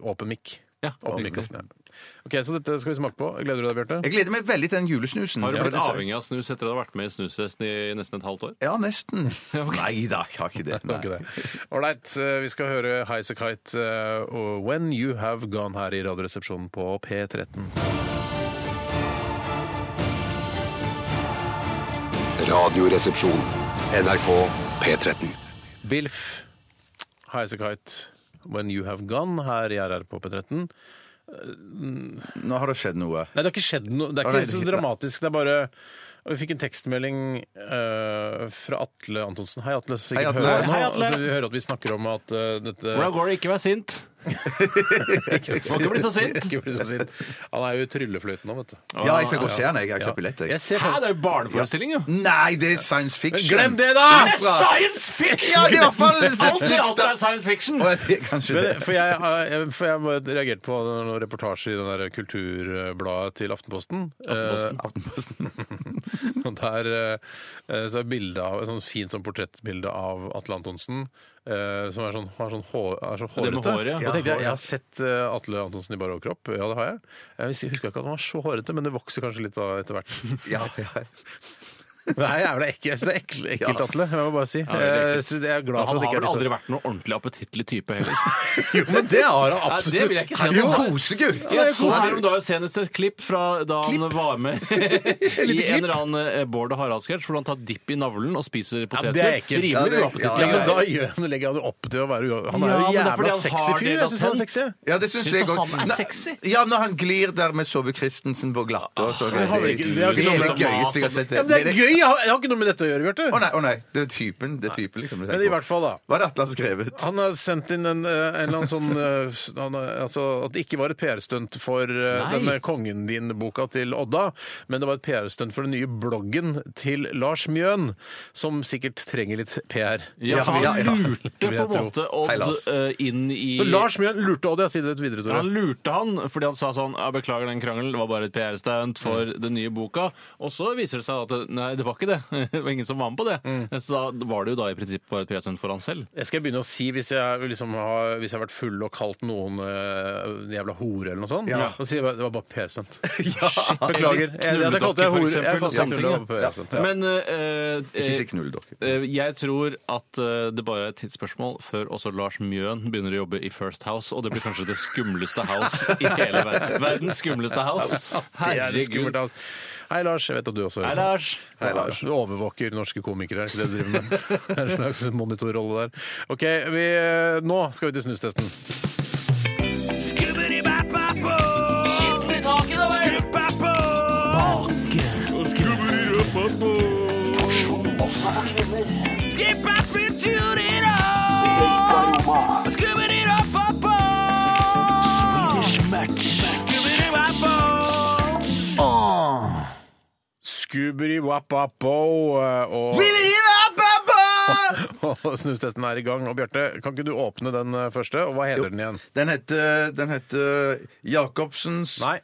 åpen mikk. Ja, Åpen mikrofon, ja. OK, så dette skal vi smake på. Gleder du deg, Bjarte? Jeg gleder meg veldig til den julesnusen. Har du Ja, blitt det- avhengig av snus etter at du har vært med i snusfesten i nesten et halvt år? Ja, nesten. Nei da, jeg har ikke det. Det var ikke det. Ålreit, eh, vi skal høre Highasakite eh, og When You Have Gone her i Radioresepsjonen på P13. Radioresepsjon. NRK P13. Bilf, Highasakite, When You Have Gone her i RR på P13. Nå har det skjedd noe. Nei, det har ikke skjedd noe. Det er Å, ikke nei, det er så ikke- dramatisk. Det er bare vi fikk en tekstmelding eh, fra Atle Antonsen. Hei, Atle. Sikkert Hei, Atle. hører han nå. Hei, Atle. Altså, vi hører at vi snakker om at eh, dette Hvordan går det? Ikke vær sint. Må ikke bli så sint. Ikke bli så sint. Han er jo i tryllefløyten nå, vet du. Ja, jeg skal gå og se den. Jeg har kjøpt billett. jeg. Jeg ser Hæ, det er jo barneforestilling, jo. Nei, det er science fiction. Glem det, da! Det er science fiction! Ja, det er i hvert fall det Alt i siste. alt er science fiction. Å, det er Kanskje Men, det. det- for jeg, har- jeg, for jeg har reagert på noen reportasjer i den der kulturbladet til Aftenposten. Aftenposten. Aftenposten. og der eh, så er bildet av, et sånt fint sånn portrettbilde av Atle Antonsen, eh, som er sånn, har sånn hå, er så Det med hårete. håret, ja. Da tenkte Ja, hår, jeg, ja. jeg har sett eh, Atle Antonsen i bare overkropp. Ja, det har jeg. Jeg husker husker ikke at han var så hårete, men det vokser kanskje litt da etter hvert. Ja, ja. Nei, jeg er vel ikke så ekkel, ekkelt, Atle. Jeg må bare si. det er ekkelt. Eh, så jeg er glad Men for han at det har ikke vel er aldri ditt vært noen ordentlig appetittlig type heller. Jo, men det har han Nei, absolutt. det vil jeg ikke si at Jo, han har. kosegutt! Jeg så her om dagen senest et klipp fra da han var med i klipp? en eller annen eh, Bård og Harald-sketsj, hvor han tar dipp i navlen og spiser Ja, poteter. det er ekkelt. Rimelig Ja, det er- bra appetitt. Ja, men da gjør han, legger han jo opp til å være uavhengig. Han er Ja, jo men det er fordi jævla han har sexy det fyr. Jeg syns han er sexy. Ja, det syns Syns jeg du godt. han er Nei, sexy? Ja, når han glir der med Sove Christensen på glatte og så Ah, det har vel ikke- det har ikke det noe er med det gøyeste jeg har sett. Ja, men det er det- gøy! Jeg har, jeg har ikke noe med dette å gjøre, Å Bjarte. nei, å nei. Det er typen. Det er typen liksom du Men i tenker hvert på. fall, da. Hva er det Atle har skrevet? Han har sendt inn en, eh, en eller annen sånn eh, han, har- altså, At det ikke var et PR-stunt for eh, Nei. denne Kongen din-boka til Odda, men det var et PR-stunt for den nye bloggen til Lars Mjøen, som sikkert trenger litt PR. Ja, for Ja, ja. han lurte på Vil jeg en tro. måte Hei, Odd Lars. eh, inn i Så Lars Mjøen lurte Odd, ja. Si det videre, Tore. Han lurte han fordi han sa sånn Jeg beklager den krangelen, det var bare et PR-stunt for Mm. den nye boka. Og så viser det seg at det- nei, det var ikke det. Det var ingen som var med på det. Mm. Så da var det jo da i prinsippet bare et PR-stunt for han selv. Det skal jeg begynne å si hvis jeg, liksom har, hvis jeg har vært full og kalt noen eh, jævla hore eller noe sånt. Ja. Da sier jeg bare det var bare PR-stunt. Shit, beklager. Jeg, jeg, jeg Knulledokke, kalte jeg for hore. eksempel, Jeg kalte og sånne jeg ting, ja. knulledokke på PR-stunt. Ja. Men eh, eh, Ikke si knulldokke. eh, jeg tror at eh, det bare er et tidsspørsmål før også Lars Mjøen begynner å jobbe i First House, og det blir kanskje det skumleste house i hele verden. Verdens skumleste house. Det er litt skummelt. Herregud. alt. Hei, Lars. Jeg vet at du også Hei, på. Lars. Hei, Lars. Du overvåker norske komikere, er det ikke det du driver med? En slags monitorrolle der. OK, vi, eh, nå skal vi til snustesten. Scooberi wap wap bo eh, og Og Snustesten er i gang. Og Bjarte, kan ikke du åpne den eh, første? Og hva heter den igjen? Den heter, den heter Jacobsens Nei.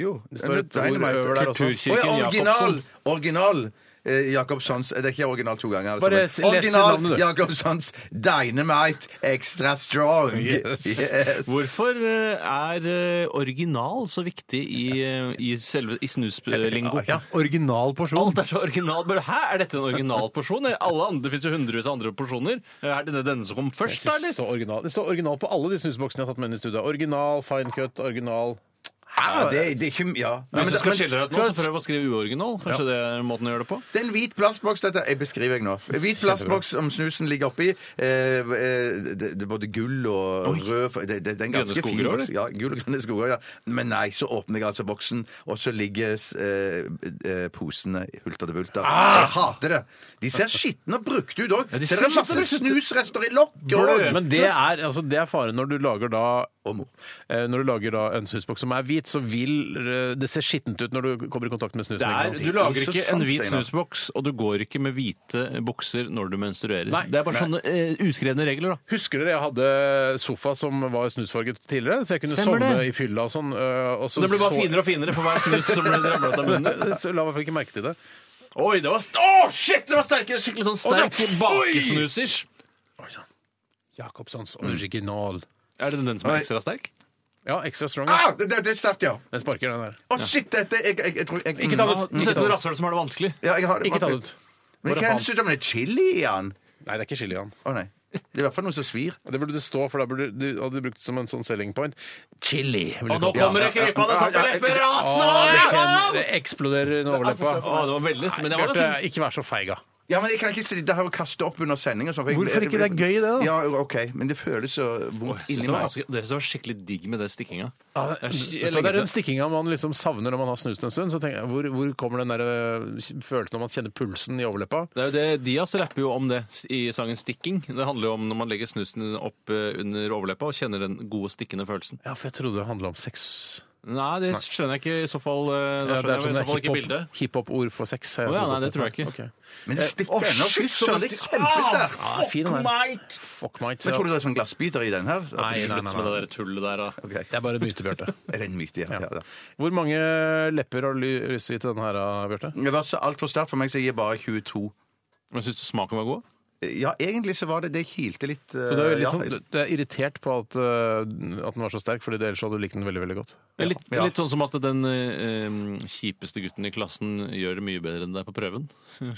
Jo. Det står et ord Dynamite. over der også. Å Kulturkirken ja, original! Jacobsen. Original eh, Jacobsons Det er ikke original to ganger. Altså, Bare men s- les navnet, original du. Jacobsons Dynamite Extra Strong. Yes. Hvorfor eh, er eh, original så viktig i, eh, i, selve- i snuslingo? Ja, original porsjon. Alt er så original. Bare, Hæ, er dette en original porsjon? Alle andre, Det fins jo hundrevis av andre porsjoner. Eh, Er det denne som kom først, da, Det eller? står original. Det står original på alle de snusboksene jeg har tatt med inn i studio. Original, fine cut, original Ja, det, det er ikke Ja. Nei, Hvis men, du skal men, skille deg ut nå, så prøv å skrive uoriginal. Kanskje det er måten å gjøre det på? det er en hvit plastboks dette jeg beskriver jeg nå. En Hvit plastboks som snusen ligger oppi. Eh, eh, det, det er både gull og rød for- det, det, det er en Grønne ganske fin skoger også, boks. Ja, gull og grønne skoger, ja. Men nei, så åpner jeg altså boksen, og så ligger eh, eh, posene hulter til bulter. Jeg hater det! De ser skitne og brukte ut òg. Ja, de det ser er masse skitne og snusrester i lokket og- Men det er, altså, det er faren når du lager da og mo. eh, når du lager da en snusboks som er hvit, så vil eh, det se skittent ut når du kommer i kontakt med snusen. Det er, ikke sant? du lager så ikke sant, en hvit Steinar. snusboks, og du går ikke med hvite bukser når du menstruerer. Nei. det er bare sånne eh, uskrevne regler, da. Husker dere jeg hadde sofa som var snusfarget tidligere, så jeg kunne Stemmer sovne i det. fylla og sånn. eh, Og så Det blir bare så- Eh, finere og finere for hver snus som blir ramlet ut av munnen. Så La meg i hvert fall ikke merke til det. Oi, det var, å, shit, det var sterke, skikkelig sånn sterk bakesnusers. sånn. Jacobsons original. Er det den som er ekstra sterk? Mm. Ja, extra strong. ja. Ah, det, det, det er sterkt, ja. Den sparker, den der. Å, shit, dette jeg, jeg, jeg tror jeg, Ikke ta Du den ut. ser Ikke ta ut som et den ut. rasshøl som har det vanskelig. Ja, jeg har det. Ikke ta den ut. Men Bare hva er faen. det som er det chili i den? Nei, det er ikke chili i den. Å nei. Det er i hvert fall noe som svir. Det burde det stå, for da burde du hadde du brukt det som en sånn selling point. Chili. vil jeg kalle det. det krypende som Å, en det, leperase! kjenner, det eksploderer under overleppa. Å, det var veldig Men det var Bjarte, liksom ikke vær så feig, da. Ja, men jeg kan ikke sitte her og kaste opp under sending. og sånn, for jeg- Hvorfor ikke? Det er gøy, det, da. Ja, OK, men det føles så vondt Jeg synes inni det var meg. ganske- det som var skikkelig digg med det stikkinga. Vet du hva, Det er den stikkinga man liksom savner når man har snust en stund. Så tenker jeg, hvor, hvor kommer den der øh, følelsen når man kjenner pulsen i overleppa? Det er jo det, Dias rapper jo om det s- i sangen 'Stikking'. Det handler jo om når man legger snusen opp eh, under overleppa og kjenner den gode, stikkende følelsen. Ja, for jeg trodde det handla om sex. Nei, det skjønner jeg ikke i så fall. eh, Da Ja, sånn skjønner jeg i så fall ikke hiphop- bildet. hiphop-ord for sex. har Å ja, trodd nei, at det tror jeg ikke. Ok. Men det stikker Å, ennå. Fy Eh, shit, så Ah! søren, det er kjempesterkt! Ja, fin, den der. Fuck might. Men ja. tror du det er sånn glassbiter i den her? At Nei, det- nei, Slutt med det der tullet der. da. Ok. Det er bare en myte, Bjarte. Er det en myte? Ja. ja. ja. Hvor mange lepper har du lyst til å gi til denne her, Bjarte? Det var så altfor sterkt for meg, så jeg gir bare 22. Men Syns du smaken var god? Ja, egentlig så var det Det kilte litt. eh, Så du er, veldig liksom- sånn, du- du er irritert på at, eh, at den var så sterk, fordi ellers hadde du likt den veldig veldig godt. Det er Litt, Ja. litt sånn som at den eh, em, kjipeste gutten i klassen gjør det mye bedre enn deg på prøven.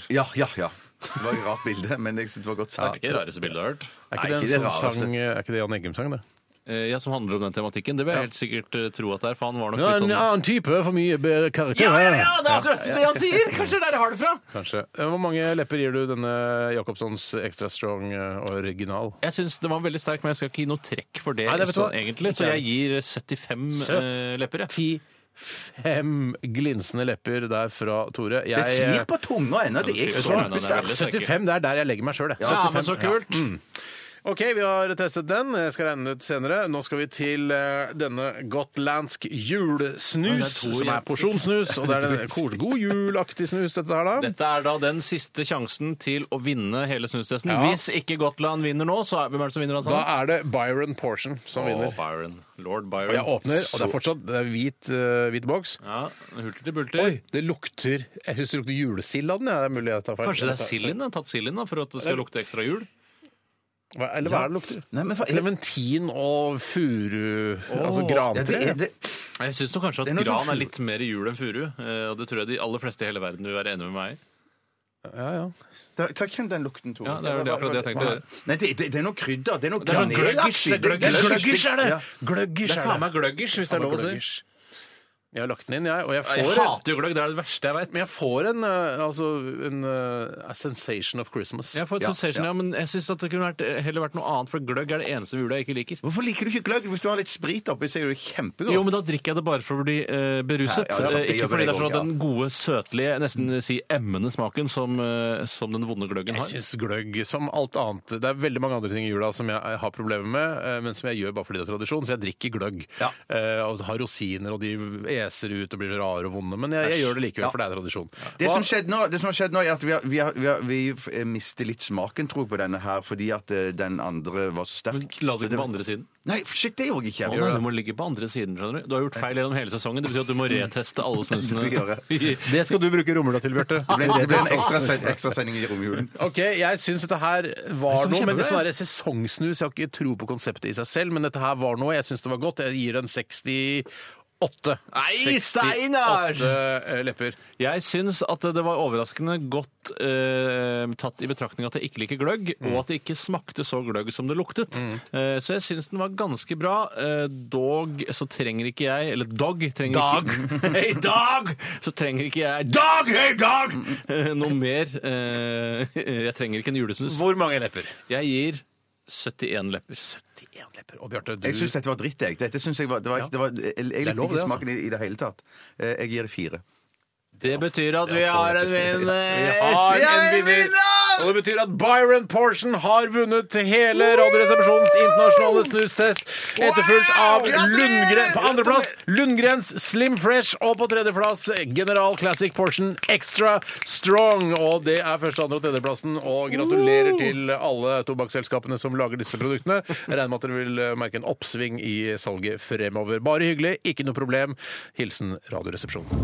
Ja, ja, ja. Det var et rart bilde, men jeg synes det var godt Det er sagt. ikke det rareste bildet jeg har hørt. Er ikke, Nei, det, en ikke det sånn rareste. sang, eh, er ikke det Jan Eggum-sang, det? Eh, ja, Som handler om den tematikken. Det vil jeg helt sikkert eh, tro at det er, for han var nok Ja, litt en sånn annen type, for mye bedre karakter. det er akkurat det han sier! Kanskje det er der jeg har det fra! Kanskje. Eh, Hvor mange lepper gir du denne Jacobsons Extra Strong eh, original? Jeg synes Det var veldig sterk, men jeg skal ikke gi noe trekk for det. Nei, det vet du sånn, hva. egentlig, Så jeg gir eh, 75 eh, lepper. jeg. Ti fem glinsende lepper der fra Tore. Jeg, Det svir på tunga ennå. Det er eh, det svir på tunga ennå, det er kjempesterkt. veldig sterkt. 75, det er der jeg legger meg sjøl, jeg. Ja, men så kult! OK, vi har testet den. Jeg skal regne den ut senere. Nå skal vi til eh, denne gotlandsk det er julesnus, to som igjen. er porsjonssnus. Og det er en kos- god julaktig snus, dette her, da. Dette er da den siste sjansen til å vinne hele snustesten. Ja. Hvis ikke Gotland vinner nå, så er, hvem er det som vinner? Da er det Byron Portion som vinner. Å, Byron. Lord Og Byron. jeg åpner, og det er fortsatt det er hvit, eh, hvit boks. Ja, Hulter til bulter. Oi, det lukter Jeg syns det lukter julesild av den. Ja. Det er mulig jeg tar feil. Kanskje det er silden? den har Tatt silden da, for at det skal lukte ekstra jul? Hva, eller hva er det lukter? Nei, men hva- Klementin og furu Altså Ja, grantre. det er, det, Jeg syns kanskje at Det er noe gran sånn er litt mer jul enn furu. eh, Og det tror jeg de aller fleste i hele verden vil være enig med meg i. Ja, ja. ta, ta Kjenn den lukten, Tore. Ja, det er jo det akkurat det jeg tenkte å gjøre. Nei, det, det, det er noe krydder. Det er noe Det er sånn gløggers, granelaktig. det er gløggers, gløggers er det! Ja. Gløggers er det. faen meg gløggers, hvis det er lov å si. Gløggers. Jeg har lagt den inn, jeg. Og jeg Jeg får, hater jo gløgg, det er det verste jeg veit. men jeg får en, eh, altså, en eh, a sensation of Christmas. Jeg får et Ja, sensation, ja. ja, men jeg syns det kunne vært, eh, heller vært noe annet, for gløgg er det eneste ved jula jeg ikke liker. Hvorfor liker du ikke gløgg? Hvis du har litt sprit oppi, så er det kjempegodt. Jo, men da drikker jeg det bare for å bli eh, beruset. Ja, ja, det er sant. Eh, Det ikke gjør fordi jeg det er sånn også, at den gode, søtlige, nesten eh, si emmende smaken som, eh, som den vonde gløggen Jeg har. syns gløgg som alt annet Det er veldig mange andre ting i jula som jeg har problemer med, eh, men som jeg gjør bare fordi det er tradisjon, så jeg drikker gløgg. Ja. Eh, og har rosiner, og de eser ut og blir rare og vonde, men jeg, jeg gjør det likevel, Ja. for det er tradisjon. Det Hva- som, skjedde nå, det som har skjedd nå, er at vi, har, vi, har, vi, har, vi f- eh, mister litt smaken, tror jeg, på denne her, fordi at eh, den andre var så sterk. La det Så det- ligge på andre siden. Nei, shit, det gjorde jeg Å ikke. nei, du må ligge på andre siden, skjønner du. Du har gjort feil gjennom hele sesongen. Det betyr at du må reteste alle snusene. Det skal I- det skal du bruke romjula til, Bjarte. Det ble, det ble en ekstra, se- ekstra sending i romjulen. OK, jeg syns dette her var som noe, men det kjemper det? sånn her sesongsnus Jeg har ikke tro på konseptet i seg selv, men dette her var noe. Jeg syns det var godt. Jeg gir en 68. Nei, Steinar! 68 lepper. Jeg syns at det var overraskende godt eh, tatt i betraktning at jeg ikke liker gløgg, Mm. og at det ikke smakte så gløgg som det luktet. Eh, så jeg syns den var ganske bra. Eh, dog så trenger ikke jeg Eller dog trenger ikke Hei, dog! Så trenger ikke jeg Dog! Hei, dog! Eh, noe mer. Eh, jeg trenger ikke en julesnus. Hvor mange lepper? Jeg gir 71 lepper. 71 lepper. Og Bjarte, du Jeg syns dette var dritt, jeg. Dette synes jeg var, det var, ikke- det var, jeg, jeg likte lov, det, ikke smaken i, i det altså. hele tatt. Eh, Jeg gir det fire. Det betyr at vi har en vinner! har en vinner! Og det betyr at Byron Portion har vunnet til hele Radioresepsjonens internasjonale snustest. Etterfulgt av Lundgren på andreplass. Lundgrens Slim Fresh. Og på tredjeplass General Classic Portion Extra Strong. Og det er første, andre og tredjeplassen. Og gratulerer til alle tobakksselskapene som lager disse produktene. Jeg regner med at dere vil eh, merke en oppsving i salget fremover. Bare hyggelig, ikke noe problem. Hilsen Radioresepsjonen.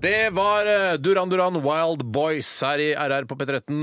Det var eh, Duran Duran Wild Boys her i RR på P13.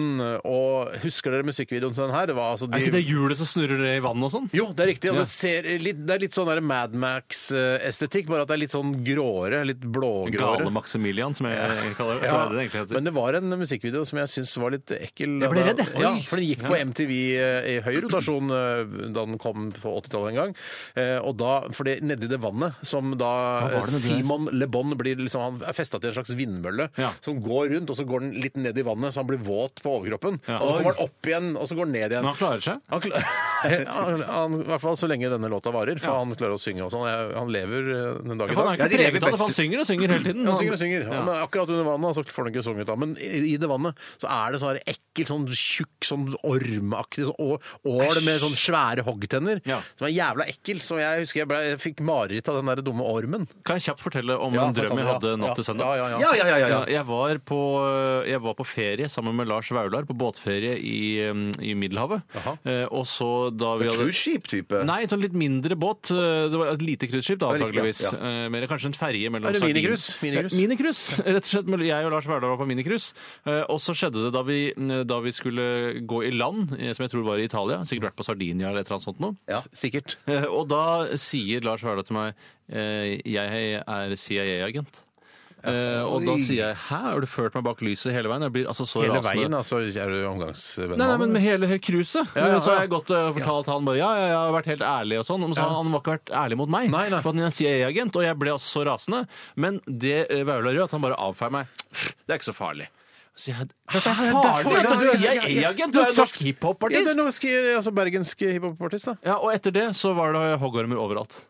Og husker dere musikkvideoen til den her? Det var altså de... Er ikke det hjulet som snurrer i vannet og sånn? Jo, det er riktig. Og Ja. det, ser litt, det er litt sånn der Mad Max-estetikk, bare at det er litt sånn gråere. Litt blågråere. Gale Maximilian, som jeg jeg kaller det. Ja, Hva er det det egentlig heter? men det var en musikkvideo som jeg syns var litt ekkel. Jeg ble redd, jeg. Ja, Oi. for den gikk på MTV eh, i høy rotasjon eh, da den kom på 80-tallet en gang. Eh, Og da, for det nedi det vannet som da Hva var det eh, nedi der? Simon Le Bon blir liksom, Han er festa til en slags vindmølle Ja. som går rundt, og så går den litt ned i vannet, så han blir våt på overkroppen. Ja. Og så Oi. kommer han opp igjen, og så går han ned igjen. Men han klarer seg. Han kla- han, han, I hvert fall så lenge denne låta varer, for han klarer å synge og sånn. Jeg- Han lever eh, den dag i For dag. han er ikke Ja, de lever preget av det, for han best. synger og synger hele tiden. Han synger og synger. Ja. Han er akkurat under vannet, så får han ikke sunget da. Men i i det vannet så er det sånn her ekkel, sånn tjukk, sånn ormeaktig sånn å- ål med sånn svære hoggtenner. Ja. Som er jævla ekkel. Så jeg husker jeg, ble, jeg fikk mareritt av den der dumme ormen. Kan jeg kjapt fortelle om Ja, en drøm fortell, jeg hadde ja. natt til Ja, søndag? ja, ja. Ja, ja, ja, ja, Ja, ja. jeg, var på, eh, jeg var på ferie sammen med Lars Vaular, på båtferie i, um, i Middelhavet. Eh, og så da vi hadde Cruiseskip-type. Nei, sånn litt mindre båt. Eh, Det var Et lite cruiseskip, da, Ja, riktig, antakeligvis. ja. Eh, Mer kanskje en ferje mellom Er det Sardin- minicruise? Minicruise? Ja, minicruise, rett og slett. Men Jeg og Lars Vaular var på minicruise. Eh, Og så skjedde det da vi, eh, da vi skulle gå i land, eh, som jeg tror var i Italia. Sikkert vært på Sardinia eller et eller annet sånt noe. Ja. Sikkert. Eh, Og da sier Lars Vaular til meg eh, jeg er CIA-agent. Eh, og da sier jeg 'hæ, har du ført meg bak lyset hele veien?' Jeg blir altså så Hele rasende. veien, altså, er du omgangsvenn Nei, nei, men med med hele, hele cruiset. ja, ja. Så har jeg gått og fortalt han bare ja, ja, jeg har vært helt ærlig og sånn. Men så har han ikke vært ærlig mot meg. Nei, nei. For at han er CIA-agent, og jeg ble altså så rasende. Men det eh, Vaular gjør, at han bare avfeier meg. Det er ikke så farlig. Så jeg, Hæ, det er farlig! Du er CIA-agent! Du er jo Ja, det norsk er hiphop-artist! norsk, altså bergensk hiphop-artist, da. Ja, og etter det så var det hoggormer overalt.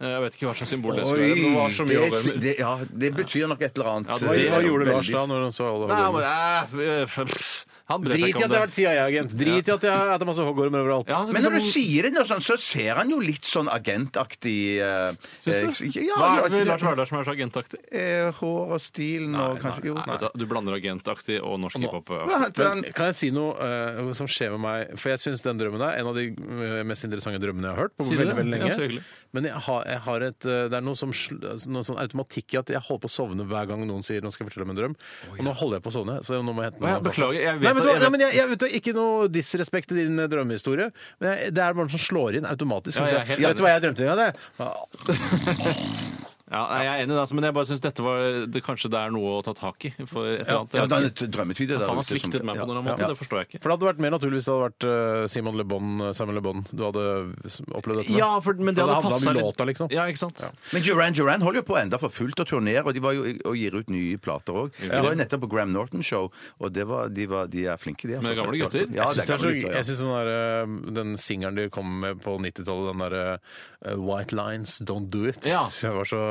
Eh, Jeg vet ikke hva slags symbol det skulle være. men Det var så mye det, hoggormer. det, ja, det betyr nok et eller annet. Ja, Hva, det- hva gjorde Veldig- Lars da? når han så alle Nei, han hoggormer? bare eh, f- f- Han bryr seg Drit i at ikke om jeg har det. vært CIA-agent. Drit i at jeg at det er masse hoggormer overalt. Ja, han synes Men når som- du sier det, nå sånn, så ser han jo litt sånn agentaktig eh, Syns eh, Ja, Hva ja, er det med Lars det- Vardar som er så agentaktig? eh, Hår og stilen og Nei, kanskje nei, Jo. nei, vet du, du blander agentaktig og norsk hiphop. Hva heter han? Men kan jeg si noe eh, som skjer med meg? For jeg syns den drømmen er en av de eh, mest interessante drømmene jeg har hørt på Sier du veldig, det? veldig Ja, så lenge. hyggelig. Men jeg har, jeg har et eh, Det er noe, som, sl- altså, noe sånn automatikk i at jeg holder på å sovne hver gang noen sier 'nå skal jeg fortelle om en drøm'. Og nå holder jeg på å sovne, så nå må jeg hente Å, ja, meg en kaffe. beklager, jeg vet Nei, men, at- du, jeg nei, vet- men jeg, jeg, vet, du, Ikke noe disrespekt til din eh, drømmehistorie, men jeg, det er bare noe som slår inn automatisk. Ja, jeg er helt vet du hva jeg drømte en gang? Det? Ja, nei, jeg er enig, i det, altså, men jeg bare syns dette var det, Kanskje det er noe å ta tak i. For et eller annet. Ja, det er et drømmetyde der At han har ute som- sviktet meg på ja. noen måte, Ja. det forstår jeg ikke. For det hadde vært mer naturlig hvis det hadde vært eh, Simon Le Bon, Simon Le Bon du hadde s- opplevd dette med. Ja, for, men det hadde handlet om passa litt. låta, liksom. Ja, ikke sant? Men Duran Duran holder jo på enda for fullt å turnere, og de var jo og gir ut nye plater òg. De var jo nettopp på Graham Norton-show, og det var, de, var, de er flinke, de. altså. Men det er gamle gutter. Ja, Jeg det syns er gamle gutter, ja. den, der, eh, den singelen de kom med på 90-tallet, den derre eh, White Lines, Don't Do It Ja. så jeg var så,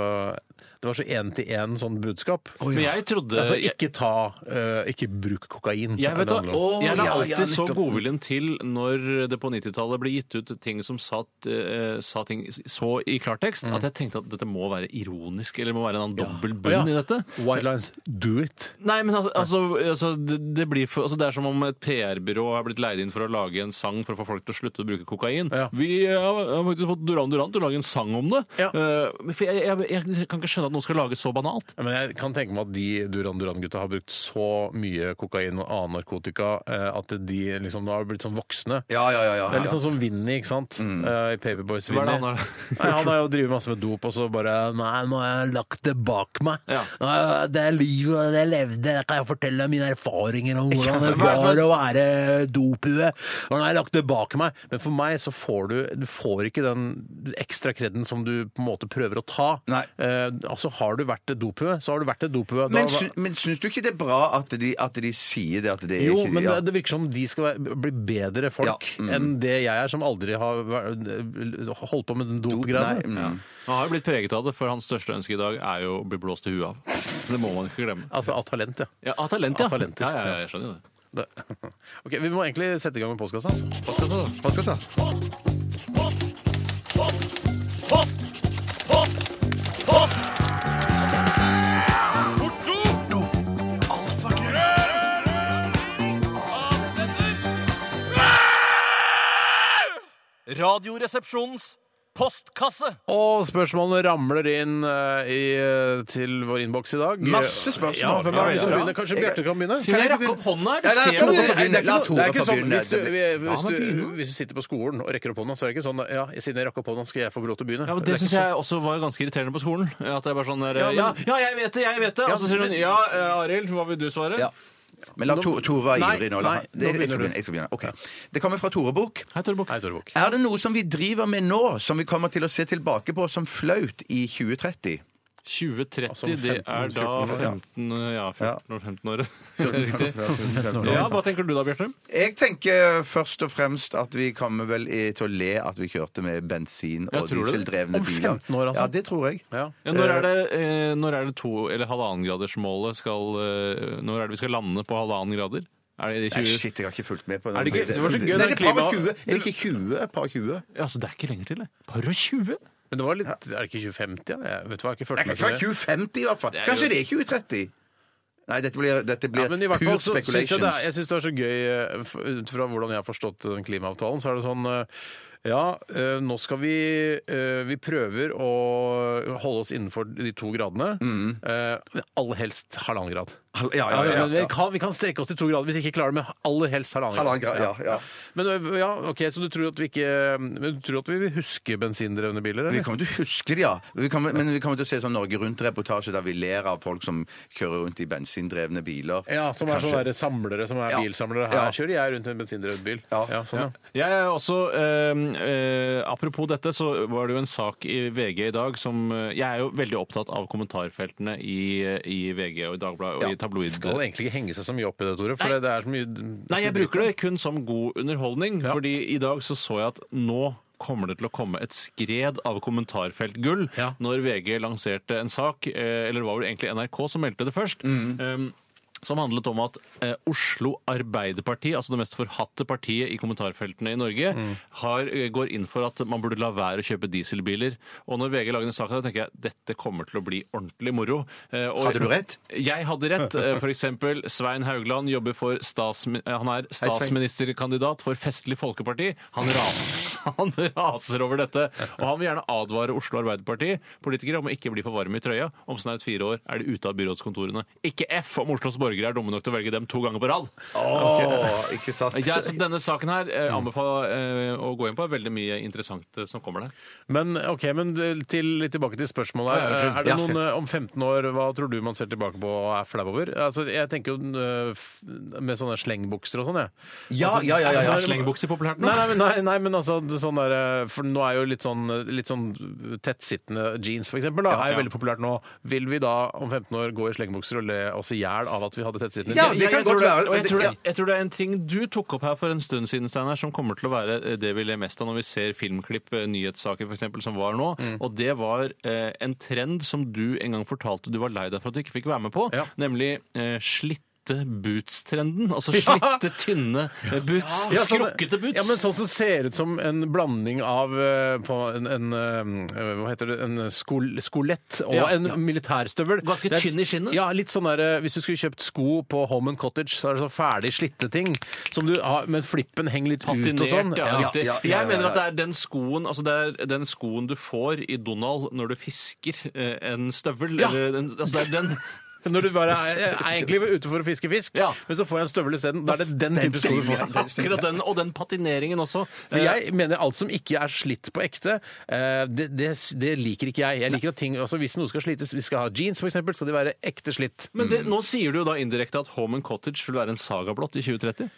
Det var så én-til-én sånn budskap. Men jeg trodde Altså jeg- ikke ta eh, Ikke bruk kokain. Jeg vet er det da, handler om. jeg la ja, alltid ja, så nettopp. godviljen til når det på 90-tallet ble gitt ut ting som sa, eh, sa ting så i klartekst, at jeg tenkte at dette må være ironisk, eller det må være en annen dobbel Ja. bunn i dette. White Lines, do it. Nei, men al- altså, altså, det, det blir for, altså, det er som om et PR-byrå har blitt leid inn for å lage en sang for å få folk til å slutte å bruke kokain. Ja. Vi eh, har faktisk fått Duran Duran til å lage en sang om det. Ja. Eh, for jeg, jeg, jeg kan ikke skjønne at noen skal lage så banalt. Ja, Men jeg kan tenke meg at de Duran Duran-gutta har brukt så mye kokain og annen narkotika eh, at de liksom nå har blitt sånn voksne. Ja, ja, ja, ja. Det er litt sånn som Vinny, ikke sant? Eh, I Paperboys Hva Vinny. er det han Han, har- han har jo drevet masse med dop, og så bare Nei, nå har jeg lagt det bak meg. Ja. Nå er- Det er livet jeg levde, det kan jeg fortelle deg mine erfaringer om hvordan det men hva er var det å være dopue. Og Nå har jeg lagt det bak meg. Men for meg så får du Du får ikke den ekstra kreden som du på en måte prøver å ta. Nei. Eh, altså, har du vært et dopue, så har du vært et dopue. Da- Men, sy men syns du ikke det er bra at de, at de sier det? At det er jo, ikke, men ja. det- det virker som de skal være- bli bedre folk Ja, mm. enn det jeg er, som aldri har vært- holdt på med den Nei, dopgreiene. mm. Han har jo blitt preget av det, for hans største ønske i dag er jo å bli blåst i huet av. Det må man ikke glemme. Altså av talent, ja. Ja, av talent, ja. Av talent, ja, ja, ja jeg skjønner jo det. Det. Ok, Vi må egentlig sette i gang med postkassa. Altså. Radioresepsjonens postkasse. Og spørsmålene ramler inn eh, i, til vår innboks i dag. Masse spørsmål. Ja, hvem er det som Ja, ja. begynner? Kanskje Bjarte kan begynne? Kan jeg rakke opp hånda? Ja, her? Du nei, ser noe kan du- Nei, som- det er ikke La noe- Tora få begynne. sånn- Hvis du, hvis, han du, begynner. hvis du sitter på skolen og rekker opp hånda, så er det ikke sånn ja, siden jeg rakk opp hånda, skal jeg få lov til å begynne. Ja, Det er men Det ikke syns så- jeg også var ganske irriterende på skolen. At jeg bare sånn der, Ja, ja, men- ja, jeg vet det, jeg vet det! Og så sier hun ja, eh, Arild, hva vil du svare? Ja. Men la Nå- Tor- Tore være Nei, ivrig nei, nå. La. nå Det, jeg, begynner skal du. begynne, jeg skal begynne. Ok. Det kommer fra Tore Bukk. Hei, Torbok. Hei, Torbok. Er det noe som vi driver med nå, som vi kommer til å se tilbake på som flaut i 2030? 2030, Altså, om det er 15, da 14 år, ja. 15 Ja, 14 år, 15 år. Riktig. Ja. Ja, hva tenker du da, Bjarte? Jeg tenker først og fremst at vi kommer vel i- til å le at vi kjørte med bensin- og Ja, tror du det? dieseldrevne Om biler. 15 år, altså? Ja, det tror jeg. Ja. Ja, når, er det, eh, når er det to- eller halvannengradersmålet skal eh, Når er det vi skal lande på halvannen grader? Er det i Nei, 20... shit, jeg har ikke fulgt med på Er det ikke- det var så gøy Nei, da det er par klima- og 20. Er det ikke 20? Par og 20? Ja, altså, det er ikke lenger til, det. Par og 20? Men det var litt Er det ikke 2050? Ja? Jeg vet hva, jeg har ikke Det fulgt kan med ikke på være det. 2050 i hvert fall. Kanskje det er 2030? Nei, dette blir, dette Ja, blir men i hvert fall pure så synes jeg, det er, speculations. jeg synes det er så gøy eh, f- Ut fra hvordan jeg har forstått den klimaavtalen, så er det sånn eh, Ja, eh, nå skal vi eh, Vi prøver å holde oss innenfor de to gradene. Eh, Aller helst halvannen grad. Hal- Mm. ja, ja, ja, ja. men vi, kan, vi kan strekke oss til to grader hvis vi ikke klarer det, men aller helst halvannen grad. Halvannen grad, ja, ja. Men eh, ja, ok, Så du tror at vi ikke Men du tror at vi vil huske bensindrevne biler? Vi Eller? kommer til å huske det, ja. Vi kommer, men vi kommer til å se sånn Norge Rundt-reportasje der vi ler av folk som kjører rundt i bensindrevne biler. Ja, som er Kanskje. sånne der samlere som er Ja. bilsamlere. Her Ja. kjører jeg rundt i en bensindrevet bil. Ja. sånn, ja. Jeg er også, eh, eh, Apropos dette, så var det jo en sak i VG i dag som eh, Jeg er jo veldig opptatt av kommentarfeltene i, eh, i VG og i Dagbladet og Ja, i tabloid. skal egentlig ikke henge seg så mye opp i det, Tore. For Nei. det, det er så mye Nei, jeg bruker det kun som god underholdning, fordi i dag så så jeg at nå kommer det til å komme et skred av kommentarfeltgull Ja. når VG lanserte en sak, eh, eller det var vel egentlig NRK som meldte det først. Mhm. em, som handlet om at eh, Oslo Arbeiderparti, altså det mest forhatte partiet i kommentarfeltene i Norge, Mhm. har, eh, går inn for at man burde la være å kjøpe dieselbiler. Og når VG lager en sak av det, tenker jeg dette kommer til å bli ordentlig moro. Eh, og- Hadde du rett? jeg hadde rett. Eh, For eksempel Svein Haugland jobber for statsmi eh, han er statsministerkandidat for Festlig Folkeparti. Han raser, han raser over dette. Og han vil gjerne advare Oslo Arbeiderparti-politikere om å ikke bli for varme i trøya. Om snaut fire år er de ute av byrådskontorene. Ikke F om Oslos borgere er dumme nok til å velge dem to ganger på rad. Åh, ikke sant? Ja, så denne saken her eh, anbefaler eh, å gå inn på. Veldig mye interessant eh, som kommer der. Men ok, men til, litt tilbake til spørsmålet her. Ja, unnskyld. er det Ja. noen eh, om 15 år, hva tror du man ser tilbake på og er flau over? Altså, jeg tenker jo eh, f- med sånne slengbukser og sånn, jeg. Ja, ja, ja, ja, ja. Er altså, Slengbukser populært nå? Nei, nei, men- nei, nei, men altså det sånn der, eh, For nå er jo litt sånn, litt sånn tettsittende jeans, for eksempel, da, er jo ja. veldig populært nå. Vil vi da om 15 år gå i slengbukser og le oss i hjel av at vi hadde tettsittende Ja, jeans? det jeg, kan jeg tror godt være. Det, og jeg, tror det, Ja. jeg tror det er en ting du tok opp her for en stund siden, Steinar, som kommer til å være eh, det vi ler mest av når vi ser filmklipp, eh, nyhetssaker f.eks., som var nå. Mm. Og det var eh, en trend som du en gang fortalte du var lei deg for at du ikke fikk være med på, Ja. nemlig eh, slitte boots-trenden. Altså slitte, tynne eh, boots. Ja, sånn- skrukkete boots. Ja, men sånn som ser ut som en blanding av eh, på en, en eh, Hva heter det? En skol, skolett og Ja. en militærstøvel. Ganske Det er- tynn i skinnet. Ja, litt sånn der eh, Hvis du skulle kjøpt sko på Home and Cottage, så er det sånn ferdig slitte ting. Som du har, men flippen henger litt ut og sånn. Patinert, ja, Ja. riktig. ja, ja, Jeg ja, mener ja. at det er den skoen altså det er den skoen du får i Donald når du fisker eh, en støvel. Ja. Eller en, altså det er den, Når du bare er, er egentlig ute for å fiske fisk, Ja. men så får jeg en støvel isteden. Da er det den Den type sko du stilen, ja. får. akkurat den, og den patineringen også. Eh, For jeg mener alt som ikke er slitt på ekte, eh, det, det, det liker ikke jeg. Jeg liker at ting, altså Hvis noe skal slites, vi skal ha jeans f.eks., skal de være ekte slitt. Men det, nå sier du jo da indirekte at Home and Cottage vil være en sagablått i 2030.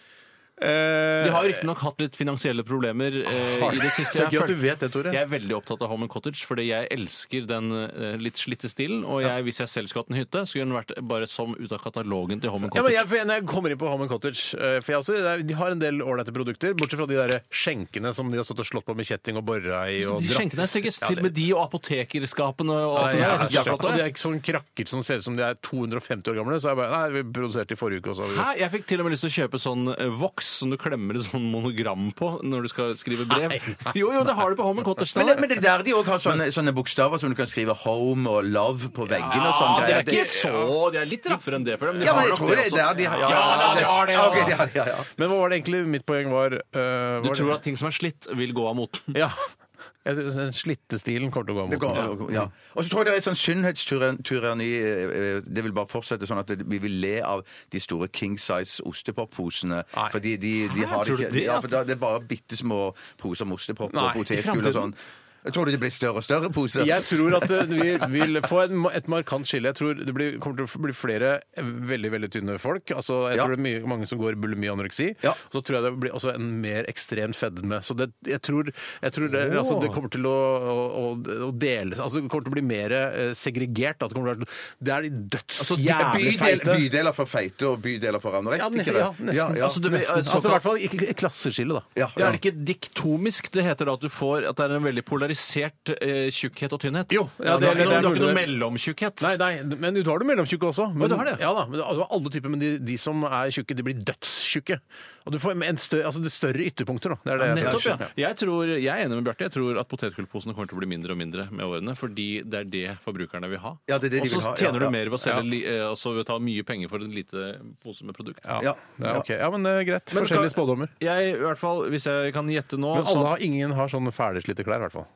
De har jo riktignok hatt litt finansielle problemer eh, i det siste. Det er gøy at du følg- vet det, Tore. Jeg er veldig opptatt av Home and Cottage, fordi jeg elsker den eh, litt slitte stilen. Og jeg, hvis jeg selv skulle hatt en hytte, skulle den vært bare som ut av katalogen til Home and Ja, men Cottage. jeg, for jeg- når jeg kommer inn på Home and Cottage eh, for jeg også, det er- De har en del ålreite produkter, bortsett fra de der skjenkene som de har stått og slått på med kjetting og bora i. Og de dratt. skjenkene er sikkert Ja, til og med de og apotekerskapene og Ja, alt det der. ja, Jeg synes de er flotte. og de er ikke sånne krakker som ser ut som de er 250 år gamle. Så er jeg bare Nei, vi produserte i forrige uke, og så har vi Hæ? Jeg fikk til og med lyst til å kjøpe sånn eh, voks som du klemmer et sånn monogram på når du skal skrive brev. Nei. Jo, jo, det har du på Home and Cottage. Men det, Steinar. men det er der de òg har sånne, sånne bokstaver som du kan skrive 'home' og 'love' på veggene og sånn. Ja, det er ikke Det- så De er litt raffere enn det for dem. De Ja, men har jeg nok tror det er også. der de har sånn. Ja, ja, de har det, ja. Ok, de har det, ja, ja. Men hva var det egentlig mitt poeng var? eh, var Du det- tror at ting som er slitt, vil gå av moten. Ja. Jeg tror Den slittestilen kommer til å gå av Det moten. går, ja. Og så tror jeg det er et sånn sunnhetstyranni eh, eh, Det vil bare fortsette sånn at vi vil le av de store King Size ostepopposene. Nei. Fordi de, de har tror det du ikke det? ja, for da- Det er bare bitte små poser med ostepop og Nei, i potetgull og fremtiden. sånn. Jeg tror det blir større og større poser. Jeg tror at eh, vi vil få en, et markant skille. Jeg tror det blir, kommer til å bli flere veldig veldig tynne folk. Altså, jeg Ja. tror det er mye, mange som går bulimi og anoreksi. Ja. Og Så tror jeg det blir også en mer ekstrem fedme. Så det, jeg tror, jeg tror det, altså, det kommer til å, å, å- å dele seg altså, Det kommer til å bli mer eh, segregert. Da. Det, kommer til å, være- sånn, det er de dødsjævlig Bydel, feite. bydeler for feite og bydeler for anorektikere. Ja, nesten. Ja, nesten. Ja, ja. Altså, du blir- Nesten. Altså, I hvert fall ikke- ikke klasseskille, da. Ja, Ja, er det ikke diktomisk det heter da at du får at det er en veldig polar- polarisert eh, tjukkhet og tynnhet. Jo, ja, ja, det- det- det, du har det- ikke noe mellomtjukkhet. Nei, nei, men du har det mellomtjukke også. Men, du har det? Ja da, men du har alle typer, men de, de som er tjukke, de blir dødstjukke. Og du får en større, altså det er større ytterpunkter, da. Det er det jeg Nettopp, tenker. ja. Jeg, tror, jeg er enig med Bjarte. Jeg tror at potetgullposene kommer til å bli mindre og mindre med årene. Fordi det er det forbrukerne vil ha. Ja, det er det de og så vil ha, ja, tjener ja. du mer ved å Ja. selge, li- eh, altså ved å ta mye penger for en lite pose med produkt. Ja. Ja. det er ok. ja men eh, greit. Men du Forskjellige kan- spådommer. Jeg, i hvert fall, hvis jeg kan gjette nå Men så- alle har, ingen har sånn ferdigslitte klær, i hvert fall.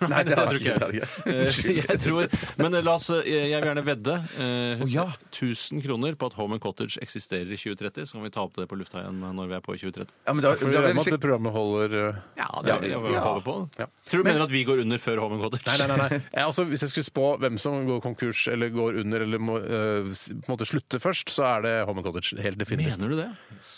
Nei, det tror jeg ikke ikke. jeg. Eh, jeg tror, men la oss, eh, jeg vil gjerne vedde eh, 1000 kroner på at Home and Cottage eksisterer i 2030. Så kan vi ta opp det på lufta igjen eh, når vi er på i 2030. Ja, men da, For da vi vil regner med jeg at det programmet holder eh, Ja, det er, jeg, håper på. Tror du mener at vi går under før Home and Cottage? Nei, nei, nei. nei. Jeg, altså, hvis jeg skulle spå hvem som går konkurs eller går under eller må eh, s- på en måte slutte først, så er det Home and Cottage. Helt definitivt. Mener du det?